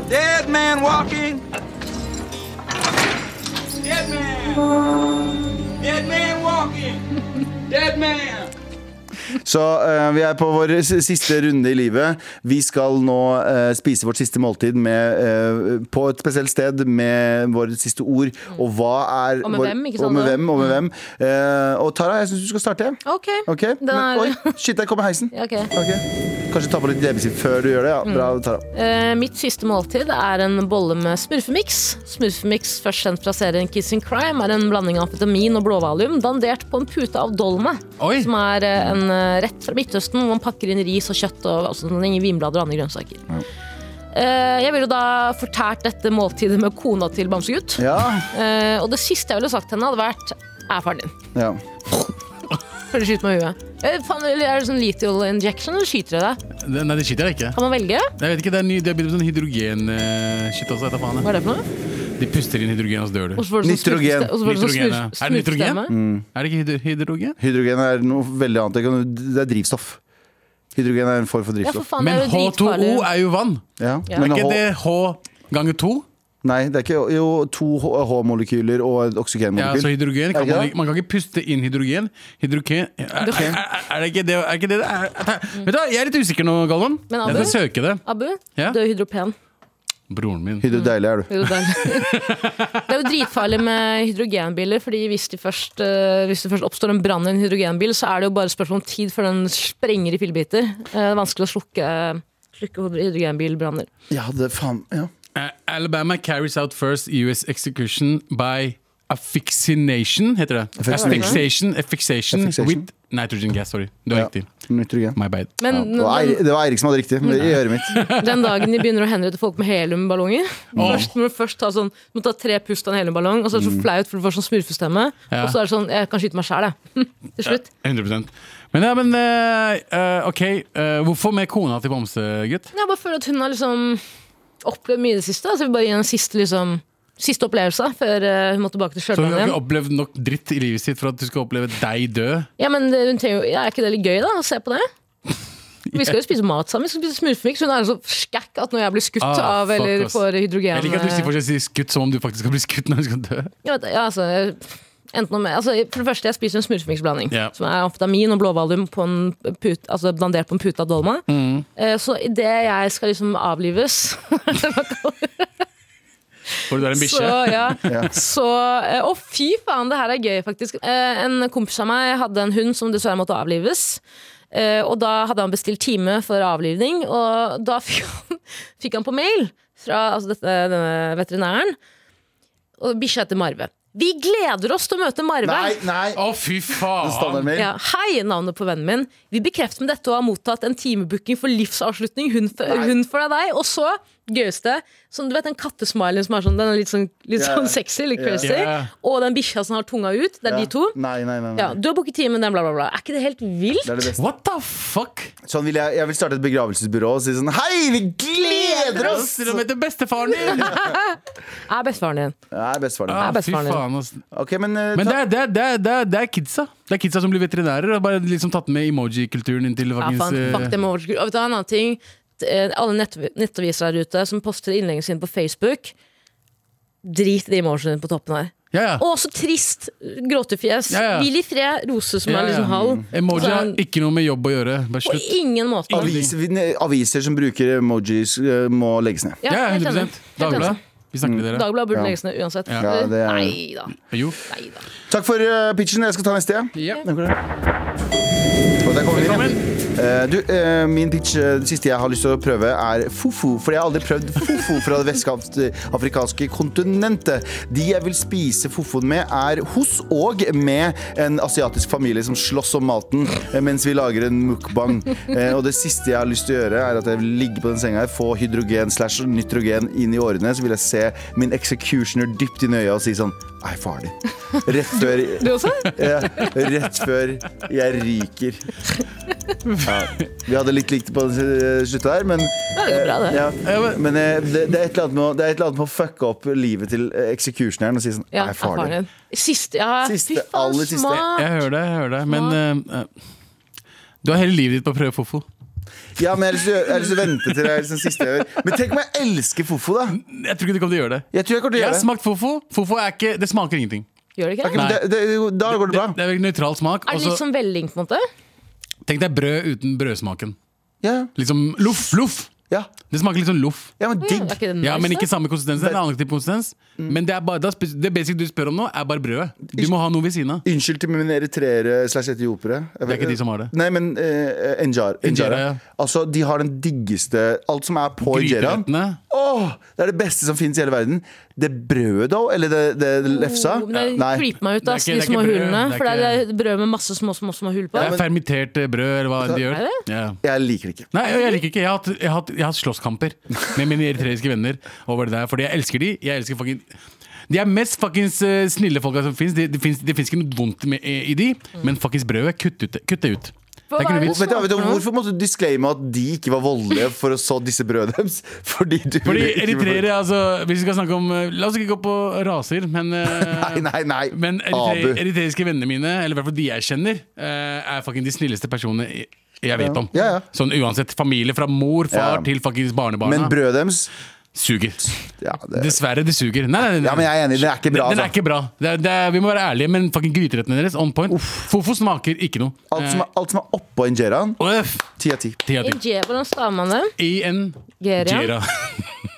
S1: Dead man walking! Dead man! Dead man walking! Dead man!
S2: Så eh, vi er på vår s- siste runde i livet. Vi skal nå eh, spise vårt siste måltid med, eh, på et spesielt sted med våre siste ord. Og hva er
S3: Mm. Og med
S2: vår-
S3: hvem, ikke
S2: Og
S3: sant,
S2: med
S3: da? Mm.
S2: hvem, og med hvem. Eh, og Tara, jeg syns du skal starte.
S3: OK.
S2: Ok?
S3: Den
S2: Men,
S3: er,
S2: oi, shit, der kommer heisen.
S3: Ja, Mm. ok.
S2: Ok. Kanskje ta på litt leppestift før du gjør det. Ja, bra, Tara.
S3: Eh, mitt siste måltid er en bolle med smurfemix. Smurfemix, først kjent fra serien Kissing Crime, er en blanding av amfetamin og blåvalium, dandert på en pute av dolma.
S4: Oi.
S3: Som er eh, en eh, rett fra Midtøsten, hvor man pakker inn ris og kjøtt og også sånne ting, vinblader og andre grønnsaker. Eh, jeg ville jo da fortært dette måltidet med kona til Bamsegutt.
S2: Ja,
S3: Eh, og det siste jeg ville sagt til henne, hadde vært er faren din.
S2: ja.
S3: Før du skyter meg i huet. Eh, faen, eller er det sånn lethal injection, eller skyter jeg deg?
S4: Det- Nei, det skyter jeg ikke.
S3: Kan man velge?
S4: Jeg vet ikke, Det er ny, det har begynt med sånn hydrogen-shit også. etter faen.
S3: Hva er det for noe?
S4: De puster inn hydrogen, og så dør du.
S3: Og så får du sånn
S2: Nitrogen.
S3: smurfeste- og så får du sånn
S4: Nitrogen, ja.
S3: smurf-
S4: Er det nitrogen?
S3: smurfestemme.
S4: Er det ikke hydro hydrogen?
S2: Hydrogen er noe veldig annet. Det kan- Det er drivstoff. Hydrogen er en form for
S3: Ja, for
S2: drivstoff.
S3: faen, det
S4: Men
S3: er jo
S4: H2O
S3: dritfarlig.
S4: er jo vann.
S2: Ja.
S3: Ja.
S2: Men
S4: Er ikke
S2: H-
S4: det H ganger to?
S2: Nei, det er ikke jo, to H- H-molekyler og et
S4: Ja, så
S2: oksygenmolekyl.
S4: altså hydrogen kan
S2: Er
S4: man,
S2: det ikke det?
S4: ikke- man kan ikke puste inn hydrogen. Hydrogen Er, er, er, er det ikke det er ikke det, det er, er, Vet du hva, jeg er litt usikker nå, Galvan.
S3: Men
S4: Jeg skal søke det.
S3: Abu,
S4: Ja?
S3: du er hydropen.
S4: Broren min.
S2: Hydro deilig er du.
S3: Jo, det er det er jo dritfarlig med hydrogenbiler, fordi hvis det først, eh, hvis det først oppstår en brann i en hydrogenbil, så er det jo bare spørsmål om tid før den sprenger i fillebiter. Eh, Det er vanskelig å slukke, slukke hydrogenbilbranner.
S2: Ja, det faen ja.
S4: Eh, Alabama carries out first US execution by affixination, heter det.
S2: Affixination.
S4: Affixation, affixation,
S2: Affixation.
S4: with nitrogen gas. Sorry, du har
S2: Ja.
S4: riktig.
S2: Nitrogen.
S4: My bad.
S3: Men
S2: Ja, det, var Eirik, det var Eirik som hadde riktig men i øret mitt.
S3: den- den dagen de begynner å henrette folk med heliumballonger Først må du først ta sånn Du må ta tre pust av en heliumballong, og så er det så flaut, for du får sånn smurfestemme.
S4: Mm. Ja.
S3: Og så er det sånn Jeg kan skyte meg sjæl, jeg. Til slutt.
S4: 100 Men, ja, men eh, eh, OK, eh, hvorfor med kona til Bamse, gutt?
S3: Jeg bare føler at hun har liksom opplevd mye i det siste. Så vi bare gir henne en siste, liksom, siste opplevelse før eh, hun må tilbake til
S4: Så hun
S3: Stjørdal
S4: har
S3: igjen.
S4: ikke opplevd nok dritt i livet sitt for at du skal oppleve deg dø?
S3: Ja, men det- hun trenger, jo- ja, Er ikke det litt gøy, da? Å se på det? Vi skal jo spise mat sammen. Vi skal spise smurfemix. Hun er så skækk at når jeg blir skutt
S4: Ah,
S3: av
S4: fuck,
S3: eller
S4: ass.
S3: får hydrogen
S4: Jeg liker at du sier fortsatt sier skutt som om du faktisk skal bli skutt når du skal dø.
S3: Ja, vet du, ja, altså, jeg- enten om, jeg- altså, For det første, jeg spiser en smurfemixblanding.
S4: Ja.
S3: Som er amfetamin og blåvalium på en put, altså, blandert på en pute av dolma.
S4: Mm.
S3: Eh, så idet jeg skal liksom avlives
S4: For du er en
S3: Så,
S4: bikkje.
S3: ja. så, eh, å fy faen, det her er gøy faktisk. Eh, En kompis av meg hadde en hund som dessverre måtte avlives. Eh, Og da hadde han bestilt time for avlivning, og da fikk han, fikk han på mail fra altså dette, denne veterinæren. Og bikkja heter Marve. Vi gleder oss til å møte Marve!
S2: Nei, nei!
S4: Å, fy faen!
S2: Standardmail.
S3: Ja, hei, navnet på vennen min. Vi bekrefter med dette å ha mottatt en timebooking for livsavslutning. Hun for, hun for deg. Og så, gøyeste, sånn, du vet den kattesmileyen som er sånn, den er litt sånn, litt
S2: Ja.
S3: sånn sexy, litt crazy.
S4: Ja.
S3: Og den bikkja som har tunga ut. Det er
S2: Ja.
S3: de to.
S2: Nei, nei, nei, nei.
S3: Ja, du har booket time med den, bla, bla, bla. Er ikke det helt vilt?
S2: Det er det beste.
S4: What the fuck?
S2: Sånn vil jeg, jeg vil starte et begravelsesbyrå og si sånn Hei, vi gleder oss!
S4: Til og med til bestefaren din!
S3: Er bestefaren din.
S2: Nei, bestefaren
S4: Ah,
S2: din.
S3: er
S4: fy
S3: bestefaren din.
S4: faen, ass.
S2: Ok, men, eh,
S4: Men det
S2: ta-
S4: er, det, er, det, er, det, er, det er kidsa Det er kidsa som blir veterinærer. Og bare liksom tatt med emoji-kulturen inn til
S3: Ja,
S4: fuckings
S3: faen,
S4: eh,
S3: fuck det med overskudd. Og vet du hva, en annen ting. t- eh, Alle nettv- nettaviser der ute som poster innleggene sine på Facebook. Drit i de emotionene på toppen her.
S4: ja, ja.
S3: Å, så trist! Gråtefjes.
S4: Ja, ja.
S3: Hvil i fred. Rose som
S4: Ja,
S3: er
S4: ja.
S3: liksom halv.
S4: Emoji har
S3: Sånn,
S4: ikke noe med jobb å gjøre. Bare
S3: På
S4: slutt.
S3: ingen måte.
S2: aviser, vi- ne- aviser som bruker emojis, eh, må legges ned.
S4: Ja,
S3: helt enig.
S4: 100
S3: Helt enig.
S4: Dagbladet. Vi snakker til dere.
S3: Dagbladet burde
S2: Ja.
S3: legges ned uansett.
S2: Ja, det er-
S3: Nei da.
S4: Jo.
S3: Nei da.
S2: Takk for eh, pitchen. Jeg skal ta neste. jeg.
S4: Ja.
S2: Og der kommer vi inn.
S4: Velkommen.
S2: igjen. Eh, du, eh, min pitch, eh, det siste jeg har lyst til å prøve, er fofo. For jeg har aldri prøvd fofo fra det vestafrikanske kontinentet. De jeg vil spise fofoen med, er hos og med en asiatisk familie som slåss om maten eh, mens vi lager en mukbang. Eh, og det siste jeg har lyst til å gjøre, er at jeg vil ligge på den senga her, få hydrogen slash nitrogen inn i årene, så vil jeg se min executioner dypt inn i øya og si sånn Nei, farlig. Rett før
S3: Du også?
S2: ja, rett før jeg ryker. Ja, vi hadde litt likt på eh, sluttet her, men
S3: Ja, det går bra, det.
S2: ja, Men eh, det, det, er et eller annet med å, det er et eller annet med å fucke opp livet til eh, executioneren og si sånn
S3: Ja,
S2: Nei, far din.
S3: erfaren. Siste, ja.
S2: Siste,
S3: Fy faen,
S2: aller siste.
S3: smart.
S4: Jeg hører det, jeg hører det. Men eh, eh, du har hele livet ditt på å prøve fofo.
S2: Ja, men jeg har lyst til å- jeg har lyst til å vente til det er liksom siste jeg gjør. Men tenk om jeg elsker Fofo, da!
S4: Jeg tror ikke du kommer til å gjøre det.
S2: Jeg tror jeg kommer til å
S4: Jeg har
S2: gjøre det.
S4: smakt fofo. Fofo er ikke, det smaker ingenting.
S3: Gjør det ikke
S2: Ok,
S3: det?
S2: men det, det, da går det
S4: Det,
S2: bra.
S4: det er veldig nøytral smak.
S3: Er det
S4: og
S3: litt sånn-
S4: så-
S3: som velling, på en måte?
S4: tenk deg brød uten brødsmaken.
S2: Ja,
S4: Liksom loff, loff.
S2: ja,
S4: Det smaker litt sånn loff.
S2: ja men
S3: Ja,
S2: digg.
S3: er ikke det nice,
S4: Ja, men
S3: da?
S4: ikke samme konsistens. Det er en annen type konsistens.
S3: Mm.
S4: Men det, er bare, det, er spes- det basic du spør om nå, er bare brødet. Du må ha noe ved siden av.
S2: Unnskyld til mine eritreere slash etiopere.
S4: Det er ikke de som har det.
S2: Nei, men eh, enjar,
S4: Injera,
S2: enjara.
S4: ja.
S2: Altså, de har den diggeste Alt som er på injeraen.
S4: Gryterettene.
S2: Åh, det er det beste som finnes i hele verden. Det brødet, da? Eller det, det lefsa?
S3: Oh, men det
S2: Nei.
S3: creeper meg ut,
S4: Det er
S3: ass,
S4: ikke-
S3: de
S4: det er
S3: små
S4: ikke brød,
S3: hullene.
S4: det er
S3: For det
S4: ikke-
S3: er brød med masse små, små, små hull på.
S4: Det er fermitert eh, brød, eller hva de gjør.
S3: Er
S4: Ja.
S2: Jeg liker det ikke.
S4: Nei, jeg liker ikke. Jeg har hatt, jeg har hatt, jeg har hatt slåsskamper med mine eritreiske venner over det der, fordi jeg elsker de. Jeg elsker fucking de er mest fuckings eh, snille folka som fins. Det det fins det fins ikke noe vondt med, eh, i de, men fuckings brødet, kutt, ut, det- kutt det ut. Det er ikke noe vits.
S2: Vet du, vet du, hvorfor måtte du disclame at de ikke var voldelige for å så disse brødene deres? Fordi du
S4: Fordi
S2: ville ikke-
S4: eritreere, altså Hvis vi skal snakke om eh, La oss ikke gå på raser, men eh,
S2: Nei, nei, nei.
S4: Men
S2: Abu.
S4: eritre eritreiske vennene mine, eller i hvert fall de jeg kjenner, eh, er fucking de snilleste personene i- jeg vet om.
S2: Ja, ja.
S4: Sånn uansett. Familie fra mor, far
S2: Ja.
S4: til fuckings barnebarna.
S2: Men brødet deres
S4: suger.
S2: ja, det-
S4: Dessverre, det suger. Nei, nei, nei, nei.
S2: ja, men jeg er enig. Det er ikke bra.
S4: Den, den er
S2: Altså.
S4: ikke bra. Det er, det er, vi må være ærlige, men fucking gryterettene deres on point. Fofo smaker ikke noe.
S2: Alt, som er, alt som er oppå injeraen,
S4: Eh, Øff! E
S2: ti av ti.
S4: Ti av ti.
S3: Injera, hvordan staver man det?
S4: I-N
S3: Gera.
S4: Gera.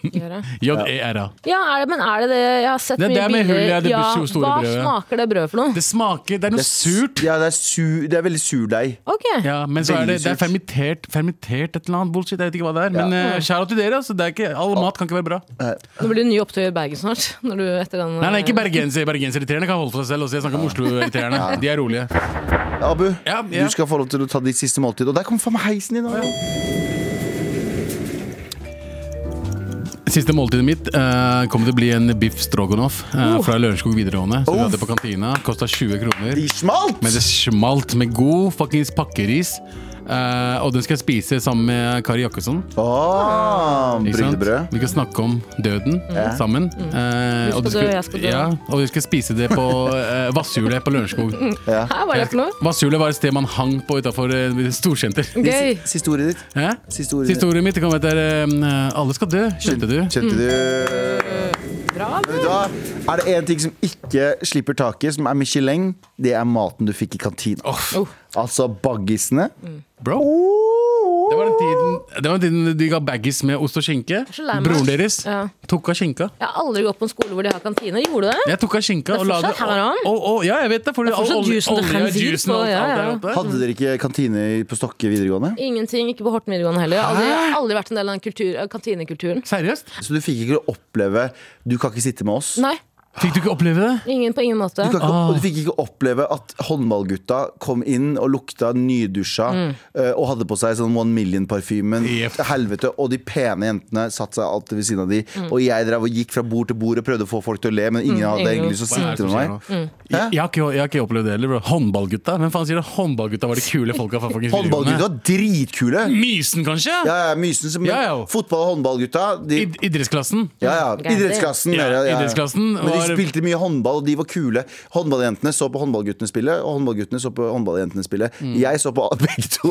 S3: Injera.
S4: J-E-R-A.
S3: Ja, er det, men er det det? Jeg har sett
S4: Det er
S3: mye
S4: det med
S3: bilder.
S4: hull, ja, det
S3: ja,
S4: store- store
S3: hva
S4: brødet.
S3: smaker det brødet for noe?
S4: Det smaker Det er noe surt.
S2: Ja, det er, su det er veldig surdeig.
S3: Ok,
S4: Ja, men så er det,
S2: Veldig
S4: det er
S2: surt.
S4: fermitert, fermitert et eller annet bullshit. Jeg vet ikke hva det er. Men
S2: Ja.
S4: eh, shout out til dere. Altså, det er ikke, all mat kan ikke være bra.
S3: Nå blir det ny opptøy i Bergen snart. Når du etter den,
S4: Nei, nei, ikke bergenser. Bergenseritreerne kan holde for seg selv. Også. Jeg snakker om Oslo-eritreerne. De er rolige.
S2: Abu,
S4: Ja, ja.
S2: du skal få lov til å ta ditt siste måltid. Og der kom faen meg heisen din! Abu.
S4: Siste måltidet mitt eh, kommer til å bli en biff stroganoff eh,
S2: Uh.
S4: fra Lørenskog videregående. Som vi
S2: Oh.
S4: hadde på kantina. Kosta 20 kroner.
S2: I smalt!
S4: Men det smalt med god fuckings pakkeris. Eh, og den skal jeg spise sammen med Kari Jakkesson.
S2: Ah,
S4: Ikke sant?
S2: Bryllebrød.
S4: Vi skal snakke om døden sammen. Eh,
S3: Du Mm. skal
S4: og,
S3: dø,
S4: du skal,
S3: jeg skal dø.
S4: Ja, og vi skal spise det på eh, Vasshjulet på Lørenskog.
S2: Ja.
S3: Hæ, hva er det for noe?
S4: Vasshjulet var et sted man hang på utafor storsenter.
S3: Gøy.
S2: Siste ordet ditt.
S4: Hæ?
S2: Siste ordet
S4: Siste ordet mitt kom etter eh, 'Alle skal dø', skjønte du?
S2: Kjente du
S3: Bra.
S2: Da er det én ting som ikke slipper taket, som er Michelin. Det er maten du fikk i kantina.
S4: Åh,
S2: Altså baggisene.
S4: Mm. bro. Det var den tiden, det var den tiden de ga baggies med ost og skinke.
S3: så lei meg.
S4: Broren deres
S3: Ja.
S4: tok av skinka.
S3: Jeg har aldri gått på en skole hvor de har kantine. Gjorde du det?
S4: Jeg tok av skinka
S3: Det er
S4: og lagde
S3: fortsatt haram.
S4: og, og, Ja, jeg vet det. Fordi
S3: Det er fortsatt
S4: olje-
S3: juicen til
S4: olje,
S3: Khanzir
S4: juicen og
S3: på,
S4: alt-
S3: ja, ja.
S4: alt der oppe.
S2: Hadde dere ikke kantine på Stokke videregående?
S3: Ingenting. Ikke på Horten videregående heller. Jeg har Aldri,
S4: Hæ?
S3: aldri vært en del av den kultur, av kantinekulturen.
S4: Seriøst?
S2: Så du fikk ikke oppleve Du kan ikke sitte med oss.
S3: Nei,
S4: Fikk du ikke oppleve det?
S3: ingen på ingen måte.
S2: Du, kan ikke, og du fikk ikke oppleve at håndballgutta kom inn og lukta nydusja eh, og hadde på seg sånn One Million-parfymen.
S4: Jepp.
S2: til Helvete. Og de pene jentene satte seg alltid ved siden av de. Og jeg drev og gikk fra bord til bord og prøvde å få folk til å le, men ingen hadde
S3: ingen.
S2: egentlig lyst til å
S4: Hva er det som
S2: sitte med meg.
S4: skjer nå? Jeg, jeg, har ikke, jeg har ikke opplevd det heller. bro. Håndballgutta? Hvem faen sier det? Håndballgutta var de kule folka. fra fucking
S2: Håndballgutta
S4: videregående.
S2: var dritkule!
S4: Mysen, kanskje?
S2: Ja, ja, Mysen som
S4: Ja, ja.
S2: Fotball- og håndballgutta. De,
S4: Id idrettsklassen?
S2: ja, ja.
S3: Gærent.
S2: Idrettsklassen.
S4: Ja,
S2: mer, ja, ja.
S4: idrettsklassen
S2: Men de
S4: var-
S2: spilte mye håndball, og de var kule. Håndballjentene så på håndballguttene spille, og håndballguttene så på håndballjentene spille.
S4: Mm.
S2: Jeg så på begge to,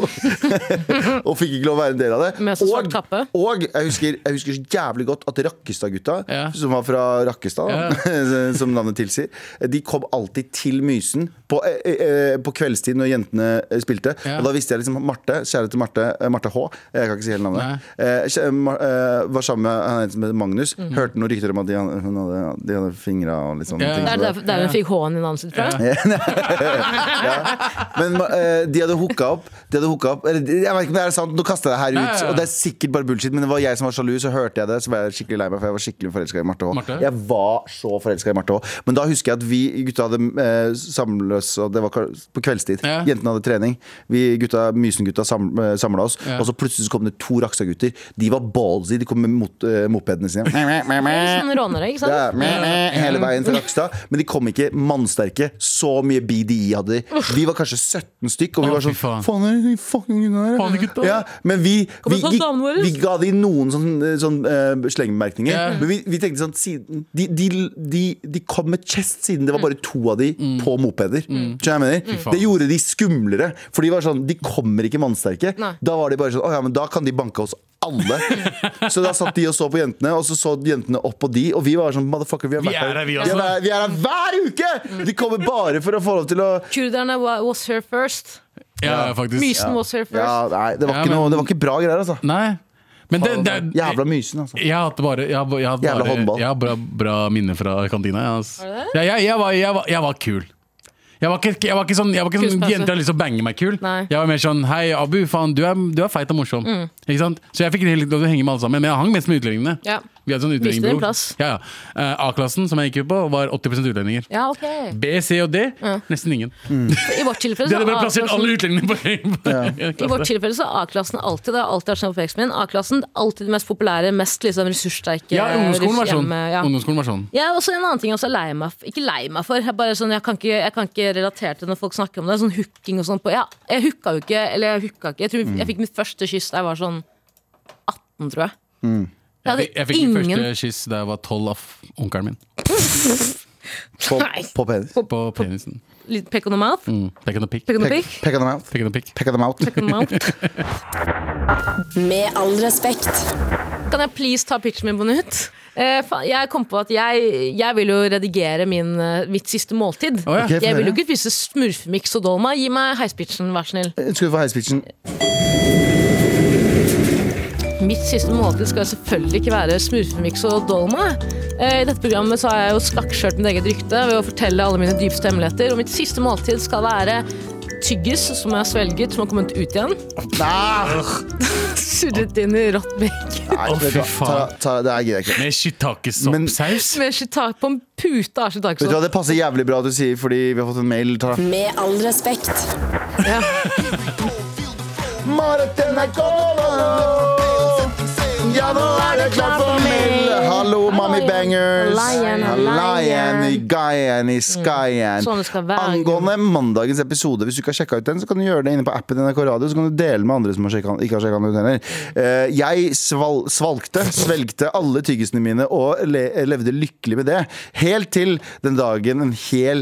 S2: og fikk ikke lov å være en del av det.
S3: Med så svart
S2: og,
S3: kappe.
S2: og jeg husker, jeg husker så jævlig godt at Rakkestad-gutta,
S4: Ja.
S2: som var fra Rakkestad, da, som navnet tilsier, de kom alltid til Mysen på, eh, eh, på kveldstid når jentene eh, spilte.
S4: Ja.
S2: Og da visste jeg liksom Marte, kjære til Marte, eh, Marte H, jeg kan ikke si hele navnet, eh, kjæ- Ma- eh, var sammen med han ene som heter Magnus.
S4: Mm.
S2: Hørte noen rykter om at de, han- hun hadde, de hadde fingra og litt sånne
S4: Ja.
S2: ting.
S3: Det
S2: som
S3: er
S2: det.
S3: derfor der hun fikk H-en i navnet sitt fra.
S2: Men eh, de hadde hooka opp. De hadde hooka opp eller, Jeg vet ikke om det er sant, nå kaster jeg det her ut.
S4: Nei, ja, ja.
S2: Og det er sikkert bare bullshit, men det var jeg som var sjalu, så hørte jeg det. Så ble jeg skikkelig lei meg, for jeg var skikkelig forelska i Marte H.
S4: Marte?
S2: Jeg var så forelska i Marte H. Men da husker jeg at vi gutta hadde eh, samles, og det var ka- på kveldstid.
S4: Ja.
S2: Jentene hadde trening. Vi gutta, Mysen-gutta sam, samla oss,
S4: Ja.
S2: og så plutselig så kom det to Rakstad-gutter. De var ballsy, de kom med mot, eh, mopedene sine.
S3: Sånn rånere, ikke
S2: Det
S3: sant?
S2: er meh, meh, hele veien til Rakstad. Men de kom ikke mannsterke. Så mye BDI hadde de. Vi var kanskje 17 stykk, og vi
S4: Å,
S2: var sånn
S4: fy faen.
S2: Faen, er det de fucking gutta her?
S4: Faen, de gutta.
S2: Ja, men vi,
S3: Kom
S2: vi,
S3: og ta
S2: gikk-
S3: damene våre.
S2: vi ga de noen sånn, sånn eh, slengbemerkninger.
S4: Ja.
S2: Men vi, vi tenkte sånn siden, de, de, de, de kom med chest siden det var bare to av de på mopeder. Skjønner jeg hva jeg mener?
S4: Mm. faen.
S2: Det gjorde de skumlere. For de var sånn De kommer ikke mannsterke.
S3: Nei.
S2: Da var de bare sånn Å ja, men da kan de banke oss alle. så da satt de og så på jentene, og så så jentene opp på de, og vi var sånn Motherfucker, vi har
S4: Vi
S2: vært
S4: er her, vi
S2: Vi
S4: også.
S2: er, her- vi er her hver uke! De kommer bare for å få lov til å
S3: Kurderne wa- was her first.
S4: Ja, faktisk.
S3: Mysen was her first.
S2: Ja, nei, det var
S4: Ja,
S2: ikke,
S4: men-
S2: noe, det var ikke bra greier, altså.
S4: Nei. Men det, det,
S2: Jævla mysen, altså.
S4: Jeg har hatt bare Jeg har, jeg har,
S2: Jævla
S4: bare,
S2: håndball.
S4: jeg har bra, bra minner fra kantina. Jeg, ass.
S3: det
S4: Ja, jeg, jeg, var, jeg, var, jeg var kul. Jeg var ikke, jeg var ikke sånn, jeg var ikke sånn
S3: Kuspause.
S4: jenter har lyst til å bange meg kul.
S3: Nei. Mm.
S4: Jeg var mer sånn Hei, Abu, faen, du er, du er feit og morsom. Ikke sant? Så jeg fikk helt lov til å henge med alle sammen. Men jeg hang mest med utlendingene.
S3: Ja.
S4: Vi hadde sånn
S3: Viste din
S4: utlendingbro.
S3: plass.
S4: Ja, ja. Eh, A-klassen, som jeg gikk på, var 80 utlendinger.
S3: Ja, ok.
S4: B, C og D nesten ingen.
S3: I vårt tilfelle
S4: De
S3: så
S4: hadde bare plassert alle
S3: A-klassen
S4: utlendingene på, på
S3: i vårt tilfelle så er A-klassen alltid det. har alltid vært sånn oppveksten min. A-klassen alltid de mest populære, mest liksom ressurssterke.
S4: Ja, ungdomsskolen var sånn.
S3: hjemme- ja.
S4: Ungdomsskolen var sånn.
S3: Jeg er også en annen ting jeg også er lei meg for. Ikke lei meg for, jeg, er bare sånn, jeg, kan ikke, jeg kan ikke relatere til når folk snakker om det. Sånn hooking og sånn på Jeg, jeg hooka jo ikke, eller jeg hooka ikke. Jeg
S4: Mm.
S3: tror jeg fikk mitt første kyss da jeg var sånn 18, tror jeg. Jeg hadde
S4: Mm. Jeg, jeg fikk min
S3: ingen
S4: første kyss da jeg var tolv av onkelen min.
S2: På,
S3: Nei.
S2: på penis.
S4: På penisen.
S3: Litt peck on the mouth.
S4: Mm. Pick and a pick.
S3: Peck on the
S2: Pek,
S3: pick.
S2: pek them out.
S4: Pick and a pick.
S2: Pek them out.
S3: Peck on the mouth.
S6: Med all respekt.
S3: Kan jeg please ta pitchen min på nytt? Eh, faen, jeg kom på at jeg, jeg vil jo redigere min, eh, mitt siste måltid.
S4: Å, ja.
S2: Ok,
S3: jeg
S2: få
S3: vil jo
S2: høre.
S3: ikke spise smurfemiks og dolma. Gi meg heispitchen, vær snill.
S2: Skal vi få heispitchen?
S3: Mitt siste måltid skal jo selvfølgelig ikke være smurfemiks og dolma. Eh, I dette programmet så har jeg jo skakkskjørt mitt eget rykte ved å fortelle alle mine dypeste hemmeligheter. Og mitt siste måltid skal være tyggis som jeg har svelget, som har kommet ut igjen.
S2: Nei!
S3: Surret inn i rått bacon.
S2: Nei,
S4: Å,
S2: vet du
S4: fy
S2: hva?
S4: faen.
S2: Ta- ta- Det her gidder jeg ikke.
S4: Med
S2: Men-
S4: shitakesaus.
S3: Med shiitake på en pute av shiitake.
S2: Vet du hva, Det passer jævlig bra at du sier fordi vi har fått en mail. Ta.
S6: Med all respekt.
S2: Marit NRK Ja, nå er det klart for mail! Hallo, mommy bangers.
S3: Hallaien, hallaien.
S2: Hallaien i guyen i skyen.
S3: Sånn det skal være.
S2: Angående mandagens episode, hvis du ikke har sjekka ut den, så kan du gjøre det inne på appen NRK Radio. Så kan du dele med andre som har sjekket, ikke har sjekka den ut heller. Eh, jeg sval svalgte, svelgte alle tyggisene mine og le levde lykkelig med det. Helt til den dagen en hel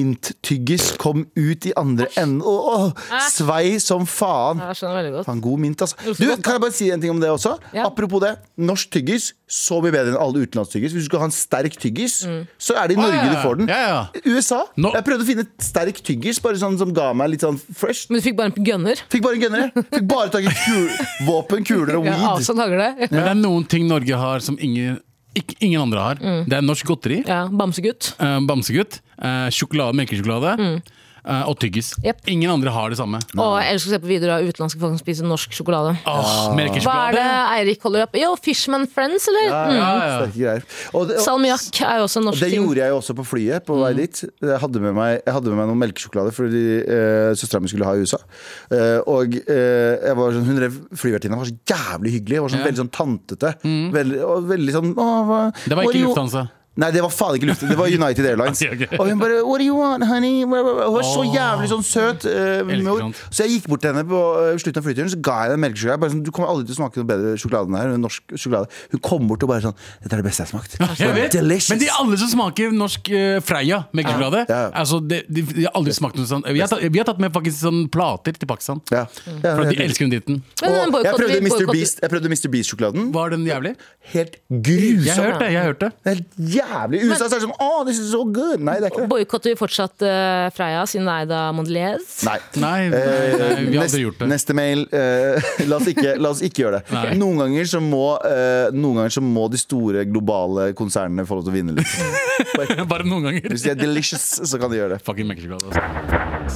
S2: minttyggis kom ut i andre enden og åh, svei som faen.
S3: Jeg skjønner veldig godt.
S2: Faen, god mynt, altså.
S3: Uff,
S2: Du,
S3: godt, da.
S2: kan jeg bare si en ting om det også?
S3: Ja.
S2: Apropos det. Norsk tyggis, så mye bedre enn alle utenlandstyggis. Hvis du skal ha en sterk tyggis,
S3: Mm.
S2: så er det i Norge
S4: ja, ja.
S2: du får den.
S4: Ja, ja.
S2: USA.
S4: Nå-
S2: Jeg prøvde å finne et sterk tyggis, bare sånn som ga meg litt sånn fresh.
S3: Men du fikk bare en gunner?
S2: Fikk bare gønnere. Fikk bare tak i kul våpen, kuler og
S3: Ja,
S2: weed.
S3: avstand hagle.
S4: Men det er noen ting Norge har som ingen, ikke, ingen andre har.
S3: Mm.
S4: Det er norsk godteri,
S3: Ja, bamsegutt.
S4: eh, bamsegutt, eh, sjokolade, melkesjokolade eh, og tyggis.
S3: Mm. Jep.
S4: Ingen andre har det samme.
S3: Og jeg elsker å se på videoer av utenlandske folk som spiser norsk sjokolade.
S4: Åh,
S2: Ah.
S3: Hva er det
S4: melkesjokolade!
S3: Eirik holder opp? Yo, Fishman Friends, eller? Mm.
S4: Ja, ja.
S2: Sterke greier. Og det, og,
S3: Salmiakk er jo også en
S2: og
S3: norsk
S2: det
S3: ting.
S2: gjorde jeg jo også på flyet på
S4: Mm.
S2: vei dit. Jeg hadde med meg, jeg hadde med meg noen melkesjokolade fordi uh, søstera mi skulle ha i USA. Eh, og eh, jeg var sånn, hun rev flyvertinna var så jævlig hyggelig. Var sånn, Veldig sånn tantete. Veldig, og veldig sånn å, hva,
S4: Mm. Det var
S2: what do
S4: ikke
S2: you-
S4: Lufthansa.
S2: Nei, det var faen ikke Lufthansa. Det var United Airlines.
S4: Ok, ok.
S2: Og hun bare What do you want, honey? Hun var så jævlig sånn søt. eh, mor.
S4: sant.
S2: Så jeg gikk bort til henne på eh, slutten av flyturen Så ga jeg henne en melkesjokolade. Bare sånn, du kommer aldri til å smake noe bedre sjokolade enn det her. Norsk sjokolade. Hun kom bort og bare sånn Dette er det beste jeg har smakt.
S4: Jeg vet.
S2: Delicious.
S4: Men de alle som smaker norsk eh, Freia melkesjokolade,
S2: Ja.
S4: altså, de, de, de har aldri smakt noe sånt. Vi har tatt, vi har tatt med faktisk sånn plater til Pakistan.
S2: Ja. Ja,
S4: For at
S2: Mm. jeg-
S4: de elsker den dritten.
S3: Men den
S2: Og jeg
S3: boykotter- vi
S2: prøvde Mr.
S3: boykotter-
S2: Beast Jeg prøvde Mr. Beast-sjokoladen
S4: Var den jævlig?
S2: Helt
S4: Jeg har
S2: grusom
S4: hørt det. jeg har hørt det
S2: Det er Helt jævlig. I USA så er det sånn Å, this is so good. Nei, det er ikke det.
S3: Boikotter vi fortsatt eh, Freia, siden det er Eida Mondelez?
S2: Nei. eh,
S4: Nei, nei, nei, vi har
S2: Nest-
S4: aldri gjort det.
S2: Neste mail. eh, la, oss ikke, la oss ikke gjøre det.
S4: Nei.
S2: Noen, ganger så må, eh, noen ganger så må de store globale konsernene få lov til å vinne litt.
S4: Bare noen ganger.
S2: Hvis de er delicious, så kan de gjøre det.
S4: Fucking Mexico, altså.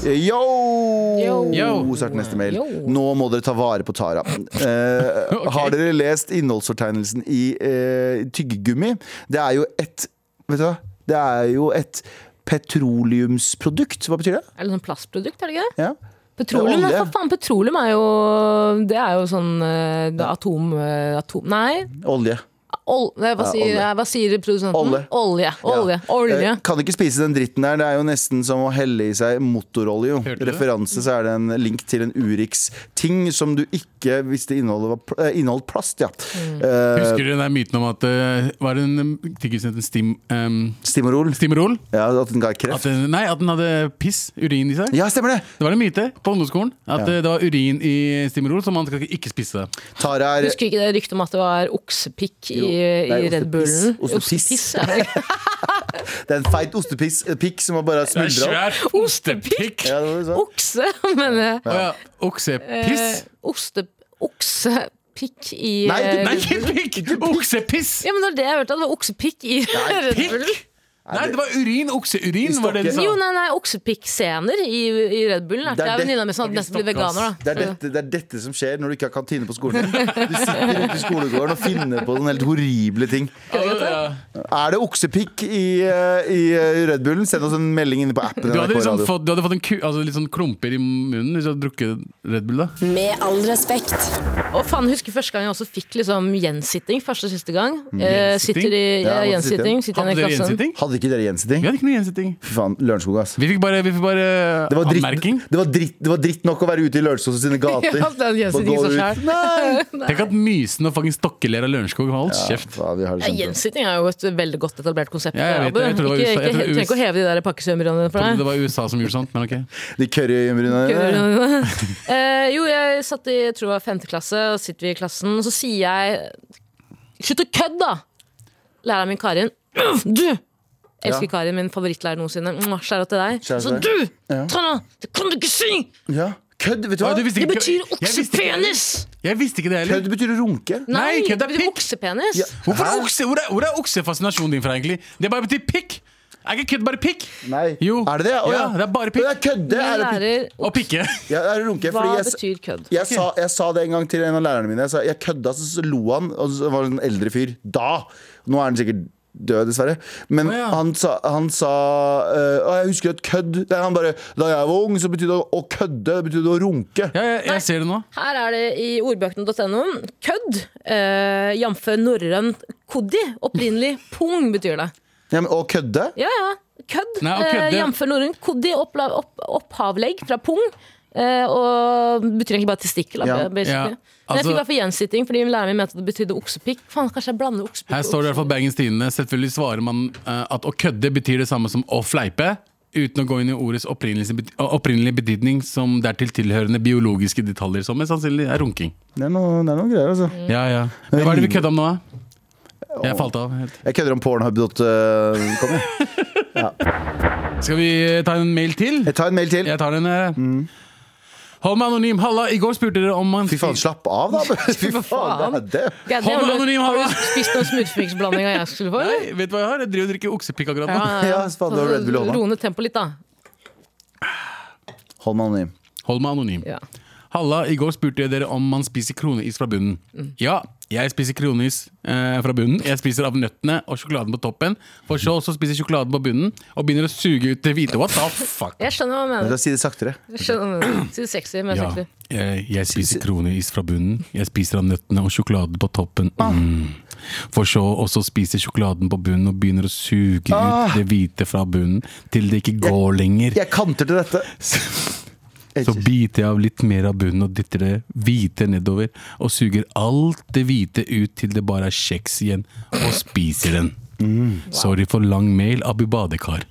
S2: Yo!
S3: Yo.
S4: Yo.
S2: Start neste mail.
S3: Yo.
S2: Nå må dere ta vare på Tara. Eh,
S4: Ok.
S2: Har dere lest innholdsfortegnelsen i eh, tyggegummi? Det er jo et Vet du hva? Det er jo et petroleumsprodukt. Hva betyr det?
S3: Er det sånn plastprodukt, er det ikke det?
S2: Ja.
S3: Petroleum,
S2: Det er
S3: ja,
S2: olje.
S3: for faen, petroleum er jo Det er jo sånn eh, det er atom, eh, atom Nei,
S2: Olje.
S3: ol, eh, hva,
S2: Ja,
S3: sier,
S2: olje.
S3: eh, hva sier produsenten?
S2: Olje.
S3: Olje. Olje.
S2: Ja.
S3: olje.
S2: Eh, Kan ikke spise den dritten der. Det er jo nesten som å helle i seg motorolje. jo.
S4: Hørte du det?
S2: Referanse så er det en link til en Urix-ting som du ikke visste inneholdt, var pl- eh, inneholdt plast. Ja.
S3: Mm.
S2: Eh,
S4: Husker du den der myten om at eh, Var det en um, tyggisen het Stim... Um,
S2: Stimorol.
S4: Stimrol?
S2: Ja, at den ga
S4: At
S2: kreft.
S4: den, nei, at den hadde piss, urin i seg.
S2: Ja, stemmer det!
S4: Det var en myte på ungdomsskolen. At
S2: Ja.
S4: eh, det var urin i Stimrol, så man skal ikke spise det.
S2: Tara er
S3: Husker ikke det ryktet om at det var oksepikk i,
S2: Jo, det er
S3: i Red Bullen?
S2: ostepiss. Ostepiss.
S3: ja.
S2: Det er en feit ostepikk som har bare
S4: Det er
S2: smuldra opp.
S4: svært ostepikk!
S2: Ja, det var det du sa.
S3: Okse, men eh,
S4: Å ja.
S3: eh,
S4: Oksepiss?
S3: oste, Oksepikk i
S2: Nei, ikke-
S3: eh,
S4: Nei, ikke pikk! Oksepiss!
S3: Ja, men det var det jeg hørte, at det var oksepikk i Red Bullen.
S4: Pikk! Nei, det var urin. Okseurin, var det de sa.
S3: Jo, nei, nei, oksepikk-scener i, i Red Bullen lærte jeg
S2: Liksom. Det er
S3: av
S2: det-
S3: venninna mi som hadde nesten blitt veganer.
S2: Det
S3: da
S2: er, dette, det er dette som skjer når du ikke har kantine på skolen. Du sitter ute i skolegården og finner på sånne helt horrible ting.
S4: Altså, ja.
S2: Er det oksepikk i, eh, i eh, Red Bullen? Send oss en melding inne på appen.
S4: Du hadde,
S2: NRK
S4: liksom
S2: Radio.
S4: fått, du hadde fått en ku, altså litt sånn klumper i munnen hvis du hadde drukket Red Bull. da
S6: Med all respekt.
S3: Og faen, jeg husker første gang jeg også fikk liksom gjensitting. Første og siste gang. Eh,
S4: Gjensitting?
S3: sitter i ja,
S2: Ja, måtte sitte igjen.
S3: gjensitting. Sitter
S4: Hadde
S3: igjen i
S4: dere
S3: klassen.
S4: gjensitting?
S2: Hadde ikke dere gjensitting?
S4: Vi hadde ikke noe gjensitting.
S2: Fy faen, Lørenskog, ass.
S4: Vi fikk bare, vi fikk bare
S2: Det var, dritt,
S4: anmerking.
S2: det, var dritt, det var dritt nok å være ute i Lørenskog sine gater.
S3: Ja, den
S2: Bare
S3: gjensitting
S2: gå
S3: som
S2: ut.
S3: skjer.
S2: Nei!
S4: Tenk at Mysen og fucking Stokkeler av Lørenskog holdt kjeft.
S2: Faen, vi har det
S3: Ja,
S2: sånn.
S3: gjensitting er jo et veldig godt etablert konsept.
S4: Ja, jeg vet
S3: Abu.
S4: det. Jeg tror det var
S3: ikke,
S4: USA. Jeg
S3: ikke,
S4: tror det
S3: du trenger ikke å heve de der pakkesømbrene for
S4: Trodde
S3: deg.
S4: det var USA som gjorde sånt, men ok.
S2: De curryøyenbrynene dine.
S3: Eh, jo, jeg satt i jeg tror det var femte klasse, og sitter vi i klassen, og så sier jeg Slutt å kødde, da! Læreren min Karin. Du! Jeg elsker
S2: Ja.
S3: Karin, min favorittlærer noensinne. Mwah, Skjær opp til deg.
S2: Skjær
S3: Så
S2: opp
S3: du!
S2: til Ja.
S3: Tana, det kan du ikke si!
S2: Ja. Kødd, vet du hva?
S4: Ja, du visste
S3: Det
S4: ikke-
S3: betyr
S4: Jeg visste ikke-
S3: oksepenis!
S4: Jeg visste ikke det heller.
S2: Kødd betyr å runke.
S4: Nei, kødd er
S3: det betyr
S4: pikk.
S3: oksepenis.
S2: Ja.
S4: Hvorfor
S2: Hæ?
S4: er okse, hvor, er, hvor er oksefascinasjonen din fra, egentlig? Det bare betyr pikk! Er ikke kødd bare pikk?
S2: Nei.
S4: Jo.
S2: Er det det? Å,
S4: Ja, det er bare pikk.
S2: Å, jeg kødder,
S3: Jeg
S2: er det pikk?
S3: lærer
S4: Og pikke.
S2: Ja, det er å runke.
S3: hva
S2: fordi jeg,
S3: betyr kødd.
S2: jeg, sa, jeg sa det en gang til en av lærerne mine. Jeg, sa, jeg kødda, så så lo han. Og så var det en eldre fyr. Da! Nå er han sikkert død, dessverre. Men
S4: Å, ja.
S2: han sa, han sa eh, «Å, Jeg husker et kødd. Nei, han bare Da jeg var ung, så betydde det å kødde det betydde å runke.
S4: Ja, jeg, jeg ser det nå.
S3: Her er det i ordbøkene.no kødd, eh, jf. norrøn koddi. Opprinnelig pung betyr det.
S2: Ja, men, å kødde?
S3: Ja, ja. Kødd.
S4: Nei, og kødde.
S3: Eh, Jf. norrøn koddi, oppla- opp, opphavlegg fra pung. Eh, og betyr egentlig bare testikkel.
S2: Ja.
S3: Ja. basically. Men
S4: Ja,
S3: jeg
S4: altså-
S3: fikk i hvert fall gjensitting fordi læreren min mente at det betydde oksepikk. Faen, kanskje jeg blander oksepikk
S4: Her
S3: og
S4: står det i hvert fall Bergens Tidende. Selvfølgelig svarer man eh, at å kødde betyr det samme som å fleipe. Uten å gå inn i ordets opprinnelige bety- opprinnelige betydning, som dertil tilhørende biologiske detaljer, som mest sannsynlig er runking.
S2: Det er noe, det er noe
S3: Mm.
S2: greier, altså.
S4: Ja, ja. Men hva er det vi kødda om nå, da? Jeg falt av. helt.
S2: Jeg kødder om øh, pornhub.com. jeg.
S4: Skal vi eh, ta en mail til?
S2: Jeg tar en mail til.
S4: Jeg tar den. eh. Hold meg anonym. Halla, i går spurte dere om man
S2: Fy faen, slapp av, da! Fy faen,
S3: faen.
S2: det er det.
S3: Ja, det
S4: Hold
S3: har
S4: meg
S3: du-
S4: anonym,
S3: Har
S4: Halla!
S3: du spist noen smurfemixblanding av jeg skulle få? eller?
S4: Nei, vet du hva jeg har? Jeg driver og drikker oksepikk akkurat nå.
S3: Ja, ja, ja.
S2: Ja, faen, det var Red Bull i hånda.
S3: Ro ned tempoet litt, da.
S2: Hold meg anonym.
S4: Hold meg anonym.
S3: Ja.
S4: Halla, i går spurte jeg dere om man spiser kroneis fra bunnen. Ja, jeg spiser kroneis eh, fra bunnen. Jeg spiser av nøttene og sjokoladen på toppen. For så også spiser sjokoladen på bunnen og begynner å suge ut det hvite. What the fuck?
S3: Jeg skjønner hva du
S2: Jeg
S3: mener.
S2: skal si det saktere.
S3: Jeg skjønner hva du mener. Si sexy, men
S4: Ja,
S3: sexy.
S4: jeg, jeg spiser kroneis fra bunnen. Jeg spiser av nøttene og sjokoladen på toppen. Mm. For så også spiser sjokoladen på bunnen og begynner å suge ut det hvite fra bunnen til det ikke går lenger.
S2: Jeg kanter til dette.
S4: Så biter jeg av litt mer av bunnen og dytter det hvite nedover, og suger alt det hvite ut til Mm. det bare er kjeks igjen, og spiser den. Sorry for lang mail, Abu Badekar.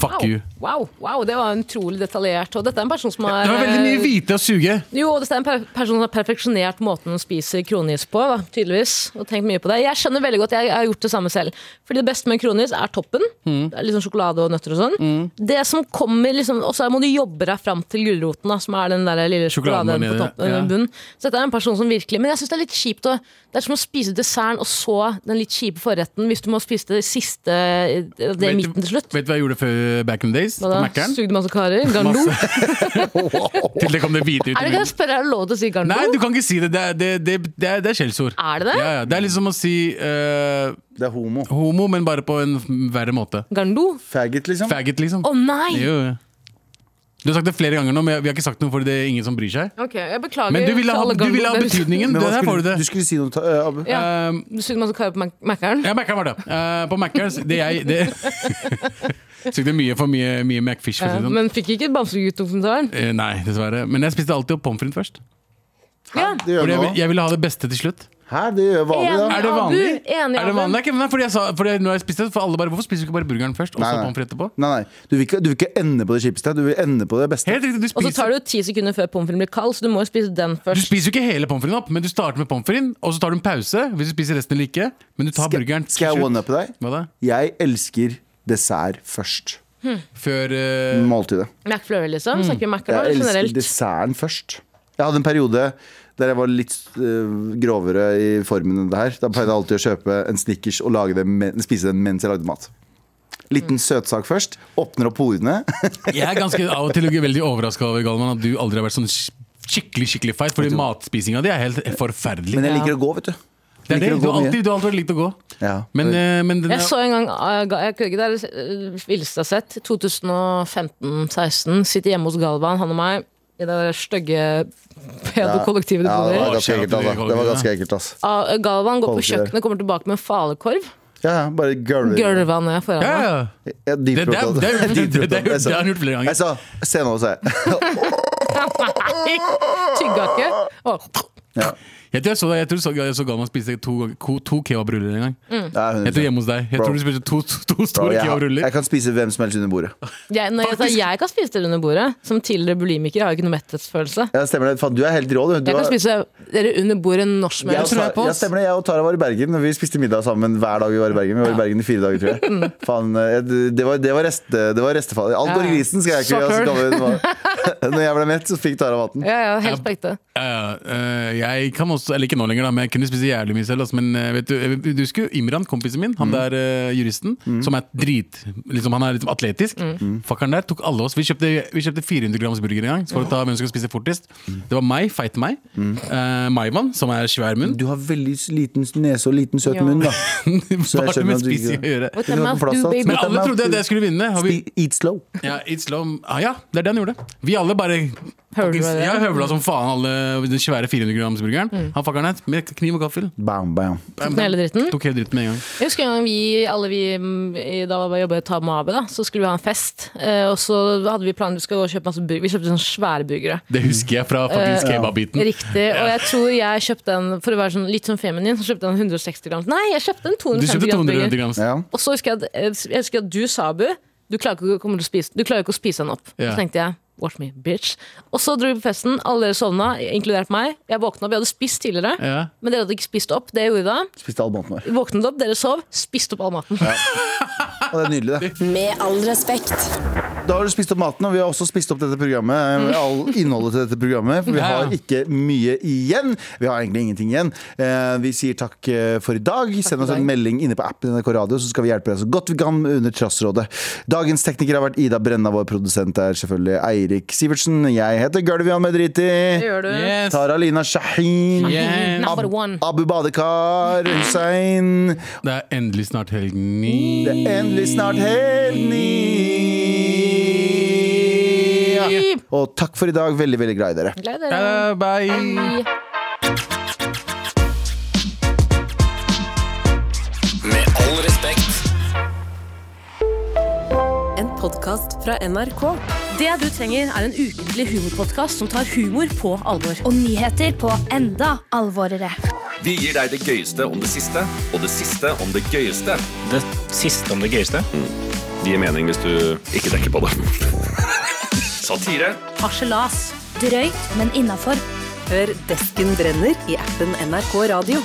S4: Fuck you.
S3: Wow, wow, det var utrolig detaljert. Og dette er en person som har
S4: Det var veldig mye hvite å suge.
S3: Jo, og dette Eh, er en per person som har perfeksjonert måten hun spiser kronis på, da, tydeligvis. Og tenkt mye på det. Jeg skjønner veldig godt, jeg, jeg har gjort det samme selv. Fordi det beste med kronis er toppen.
S4: Mm.
S3: Det er liksom sjokolade og nøtter og sånn. Det som kommer liksom, Og så må du jobbe deg fram til gulroten, da, som er den der lille sjokoladen
S4: Sjokoladen
S3: på
S4: nedi der,
S3: toppen,
S4: ja.
S3: bunnen. Så dette er en person som virkelig Men jeg syns det er litt kjipt å Det er som å spise desserten og så den litt kjipe forretten, hvis du må spise det siste Det i
S4: Vet du-
S3: midten til slutt.
S4: Vet du hva jeg gjorde før eh, back in the days? På
S3: Hva da?
S4: Mac-eren?
S3: Sugde masse karer? Garnlo?
S4: Masse. Til det kom det hvite ut. i
S3: Er det ikke
S4: munnen.
S3: jeg spørre, er det lov til å si garnlo?
S4: Nei, du kan ikke si det. Det er, det, det, det er, det er skjellsord.
S3: Er det det?
S4: Ja, ja. Det er liksom å si eh,
S2: Det er homo.
S4: homo, men bare på en verre måte.
S3: Garnlo?
S2: Faggot, liksom.
S4: Faggot, liksom.
S3: Å nei!
S4: Jo, jo. Du har sagt det flere ganger nå, men vi har ikke sagt noe for det er ingen som bryr seg.
S3: Ok, jeg beklager.
S4: Men du ville ha,
S3: til alle
S4: du ville ha
S3: gamle-
S4: betydningen.
S2: Men
S4: Det
S2: hva
S4: der får
S2: skulle,
S4: du det.
S2: du skulle si noe, ta- eh, Abu.
S3: Ja.
S4: Eh,
S3: Du sugde masse kar på Mac- Mac-eren.
S4: Ja, Mac-eren var det. Eh, på Mac-eren det jeg det, Sugde mye for mye, mye Macfish. For å si
S3: Ja,
S4: det sånn.
S3: Eh, men fikk ikke bamsegutt-dokumentaren.
S4: Eh, nei, dessverre. Men jeg spiste alltid opp pommes frites først.
S3: Ja.
S2: Det gjør
S4: Fordi jeg,
S2: vi
S4: vil-
S2: nå.
S4: jeg ville ha det beste til slutt.
S2: Hæ, det gjør vanlig, da.
S4: Er det
S3: Abu,
S4: vanlig?
S3: enig,
S4: er det
S3: Abu.
S4: vanlig? Ikke, nei, fordi jeg sa, fordi når jeg spiste, for alle bare Hvorfor spiser du ikke bare burgeren først, og
S2: Nei,
S4: så
S2: nei.
S4: pommes frites etterpå?
S2: Nei, nei. Du vil, ikke, du vil ikke ende på det kjipeste. Du vil ende på det beste.
S4: Helt riktig, du
S3: Og så tar
S4: spiser
S3: det jo ti sekunder før pommes frites blir kald, så du må jo spise den
S4: du
S3: først.
S4: spiser jo ikke hele pommes fritesen opp, men du starter med pommes fritesen, og så tar du en pause hvis du spiser resten eller ikke. Men du tar burgeren
S2: Skal,
S4: til
S2: skal jeg
S4: slutt.
S2: one-uppe deg?
S4: Hva da?
S2: Jeg elsker dessert først.
S4: Før eh,
S2: Måltidet.
S3: McFlurry,
S4: Mm.
S3: liksom. Snakker vi Mac-eren
S2: Jeg
S3: eller
S2: elsker
S3: generelt?
S2: desserten først. Jeg hadde en periode der jeg var litt øh, grovere i formen enn det her. Da pleide jeg alltid å kjøpe en Snickers og lage det men, spise den mens jeg lagde mat. Liten søtsak først. Åpner opp horene.
S4: Jeg er ganske av og til veldig overraska over Galvan, at du aldri har vært sånn sk- skikkelig skikkelig feit. Fordi matspisinga di er helt forferdelig.
S2: Men jeg liker å gå, vet du. Jeg
S4: det er det.
S2: liker å
S4: Du
S2: gå
S4: har
S2: mye.
S4: alltid, du har alltid likt å gå.
S2: Ja.
S4: Men, eh, men den
S3: Jeg
S4: er,
S3: så en gang ah, ga- Jeg kødder ikke, det er det eh, villeste jeg har sett. 2015-16. Sitter hjemme hos Galvan, han og meg, i det der stygge pedokollektivet du
S2: Ja, det
S3: bor i.
S2: var ganske ekkelt, altså. Det var ganske ekkelt, altså.
S3: Ah, Galvan går på
S2: Kollektivet.
S3: kjøkkenet, kommer tilbake med en falukorv.
S2: Ja, ja, bare gulver.
S3: Gulva ned foran
S4: ja,
S3: meg.
S4: ja.
S2: Jeg
S4: Det- det-
S2: dypropet.
S4: det- det- det- det- det-
S2: Jeg sa-
S4: det har han gjort flere ganger.
S2: Jeg sa Se nå, sa jeg.
S3: Tygga ikke. Og
S4: Jeg tror jeg så, deg- jeg tror så, jeg så Galvan spise to, to, to kebabruller en gang.
S2: Ja,
S4: Jeg tror
S2: 100%.
S4: hjemme hos deg. Jeg
S2: Mm. Bro.
S4: tror du spiste to, to, to
S2: Bro,
S4: store
S2: jeg, har-
S4: kebabruller.
S2: jeg kan spise hvem som helst under bordet.
S3: jeg, når jeg, sa jeg kan spise det under bordet. Som tidligere bulimiker har jeg ikke noe metthetsfølelse.
S2: Ja, stemmer det. Faen, du er helt rå, du. du
S3: Jeg
S2: har-
S3: kan spise dere under bordet når som
S2: Jeg, og
S3: helst.
S4: tror jeg på,
S2: Tara- ja,
S4: ass.
S2: stemmer det. Jeg og Tara var i Bergen, og vi spiste middag sammen hver dag vi var i Bergen. Vi var i Bergen i fire dager, tror jeg. Faen, eh, det var, det var, rest, det var restefall. Alt går i grisen, skal jeg ikke
S3: Sucker.
S2: altså, gammel- det var- Når jeg ble mett, så fikk Tara maten.
S3: Ja, ja, helt på ekte.
S4: Ja, ja. Eh, jeg kan også, eller ikke nå lenger, da, men jeg kunne spise jævlig mye selv. Altså, men eh, vet du, eh, du husker jo Imran, kompisen min,
S2: Mm.
S4: han der eh, juristen, som er drit liksom, Han er liksom atletisk.
S3: Mm.
S2: Mm.
S4: Fuckeren der tok alle oss. Vi kjøpte, vi kjøpte 400 grams burger en gang for å ta hvem som skal spise fortest.
S2: Mm.
S4: Det var meg, feit meg. eh, Maivan, som er svær munn.
S2: Du har veldig liten nese og liten søt
S3: Ja.
S2: munn, da.
S4: Hva
S2: jeg
S4: har det
S2: skjønner
S4: med
S2: at du
S4: spising
S2: ikke-
S4: å gjøre?
S3: With the mouth, do
S2: Plass, ass.
S3: baby.
S4: Men alle trodde at jeg skulle vinne. Og vi,
S2: Spi- Eat slow.
S4: ja, it's long. Ah, ja, det er det han gjorde. Vi alle bare
S3: Høvla det. Mm.
S4: Jeg høvla som faen alle den svære 400 grams burgeren. Han fuckeren her med kniv og gaffel.
S2: Bam, bam.
S3: Tok den hele dritten.
S4: Tok hele dritten med en gang.
S3: Jeg husker en gang vi, alle vi mm, i- da jeg jobbet i Tama Abe, da, så skulle vi ha en fest. Eh, og så hadde vi planen vi skulle gå og kjøpe masse burger. Vi kjøpte sånne svære burgere.
S4: Det husker jeg fra faktisk
S3: Eh,
S4: kebabbiten.
S3: Riktig. Og jeg tror jeg kjøpte en for å være sånn, litt sånn feminin, så kjøpte jeg en 160 grams. Nei, jeg kjøpte en
S4: Du
S3: 250
S4: kjøpte
S3: grams
S4: 200
S3: burger.
S4: grams.
S2: Ja.
S3: Og så husker jeg at, jeg husker at du sa, Abu, du klarer ikke å, komme til å spise, du klarer ikke å spise den opp.
S4: Ja.
S3: Så tenkte jeg, watch me, bitch. Og så dro vi på festen, alle dere sovna, inkludert meg. Jeg våkna opp, jeg hadde spist tidligere,
S4: Ja.
S3: men dere hadde ikke spist opp. Det jeg gjorde da,
S2: Spiste all maten vår.
S3: vi våknet opp, dere sov, spiste opp all maten.
S2: Ja, det er nydelig, det.
S6: Med all respekt.
S2: Da har du spist opp maten, og vi har også spist opp dette programmet. eh,
S3: Mm.
S2: All innholdet til dette programmet For vi
S4: Ja, ja.
S2: har ikke mye igjen. Vi har egentlig ingenting igjen. Eh, Vi sier takk eh, for i dag. Send oss
S3: for i
S2: en
S3: dag.
S2: melding inne på appen NRK Radio, så skal vi hjelpe deg så godt vi kan under Trassrådet. Dagens tekniker har vært Ida Brenna, vår produsent er selvfølgelig Eirik Sivertsen. Jeg heter Gulvian Medriti.
S3: gjør du.
S4: Yes.
S2: Tara Lina Shahin.
S4: Yeah.
S3: Number one.
S2: Abu Badekar. Hussein.
S4: Det er endelig snart helgen. Ni.
S2: Det er endelig snart helt ni. Ja. Og takk for i dag. Veldig, veldig glad i dere.
S3: Gleder dere.
S4: Eh, Bye.
S5: Med all respekt.
S6: En podkast fra NRK.
S7: Det du trenger er en ukentlig humorpodkast som tar humor på alvor.
S8: og nyheter på enda alvorere.
S9: Vi gir deg det gøyeste om det siste, og det siste om det gøyeste.
S10: Det siste om det gøyeste?
S1: Det gir mening hvis du ikke tenker på det. Satire.
S11: Harselas.
S8: Drøyt, men innafor.
S3: Hør Desken brenner i appen NRK Radio.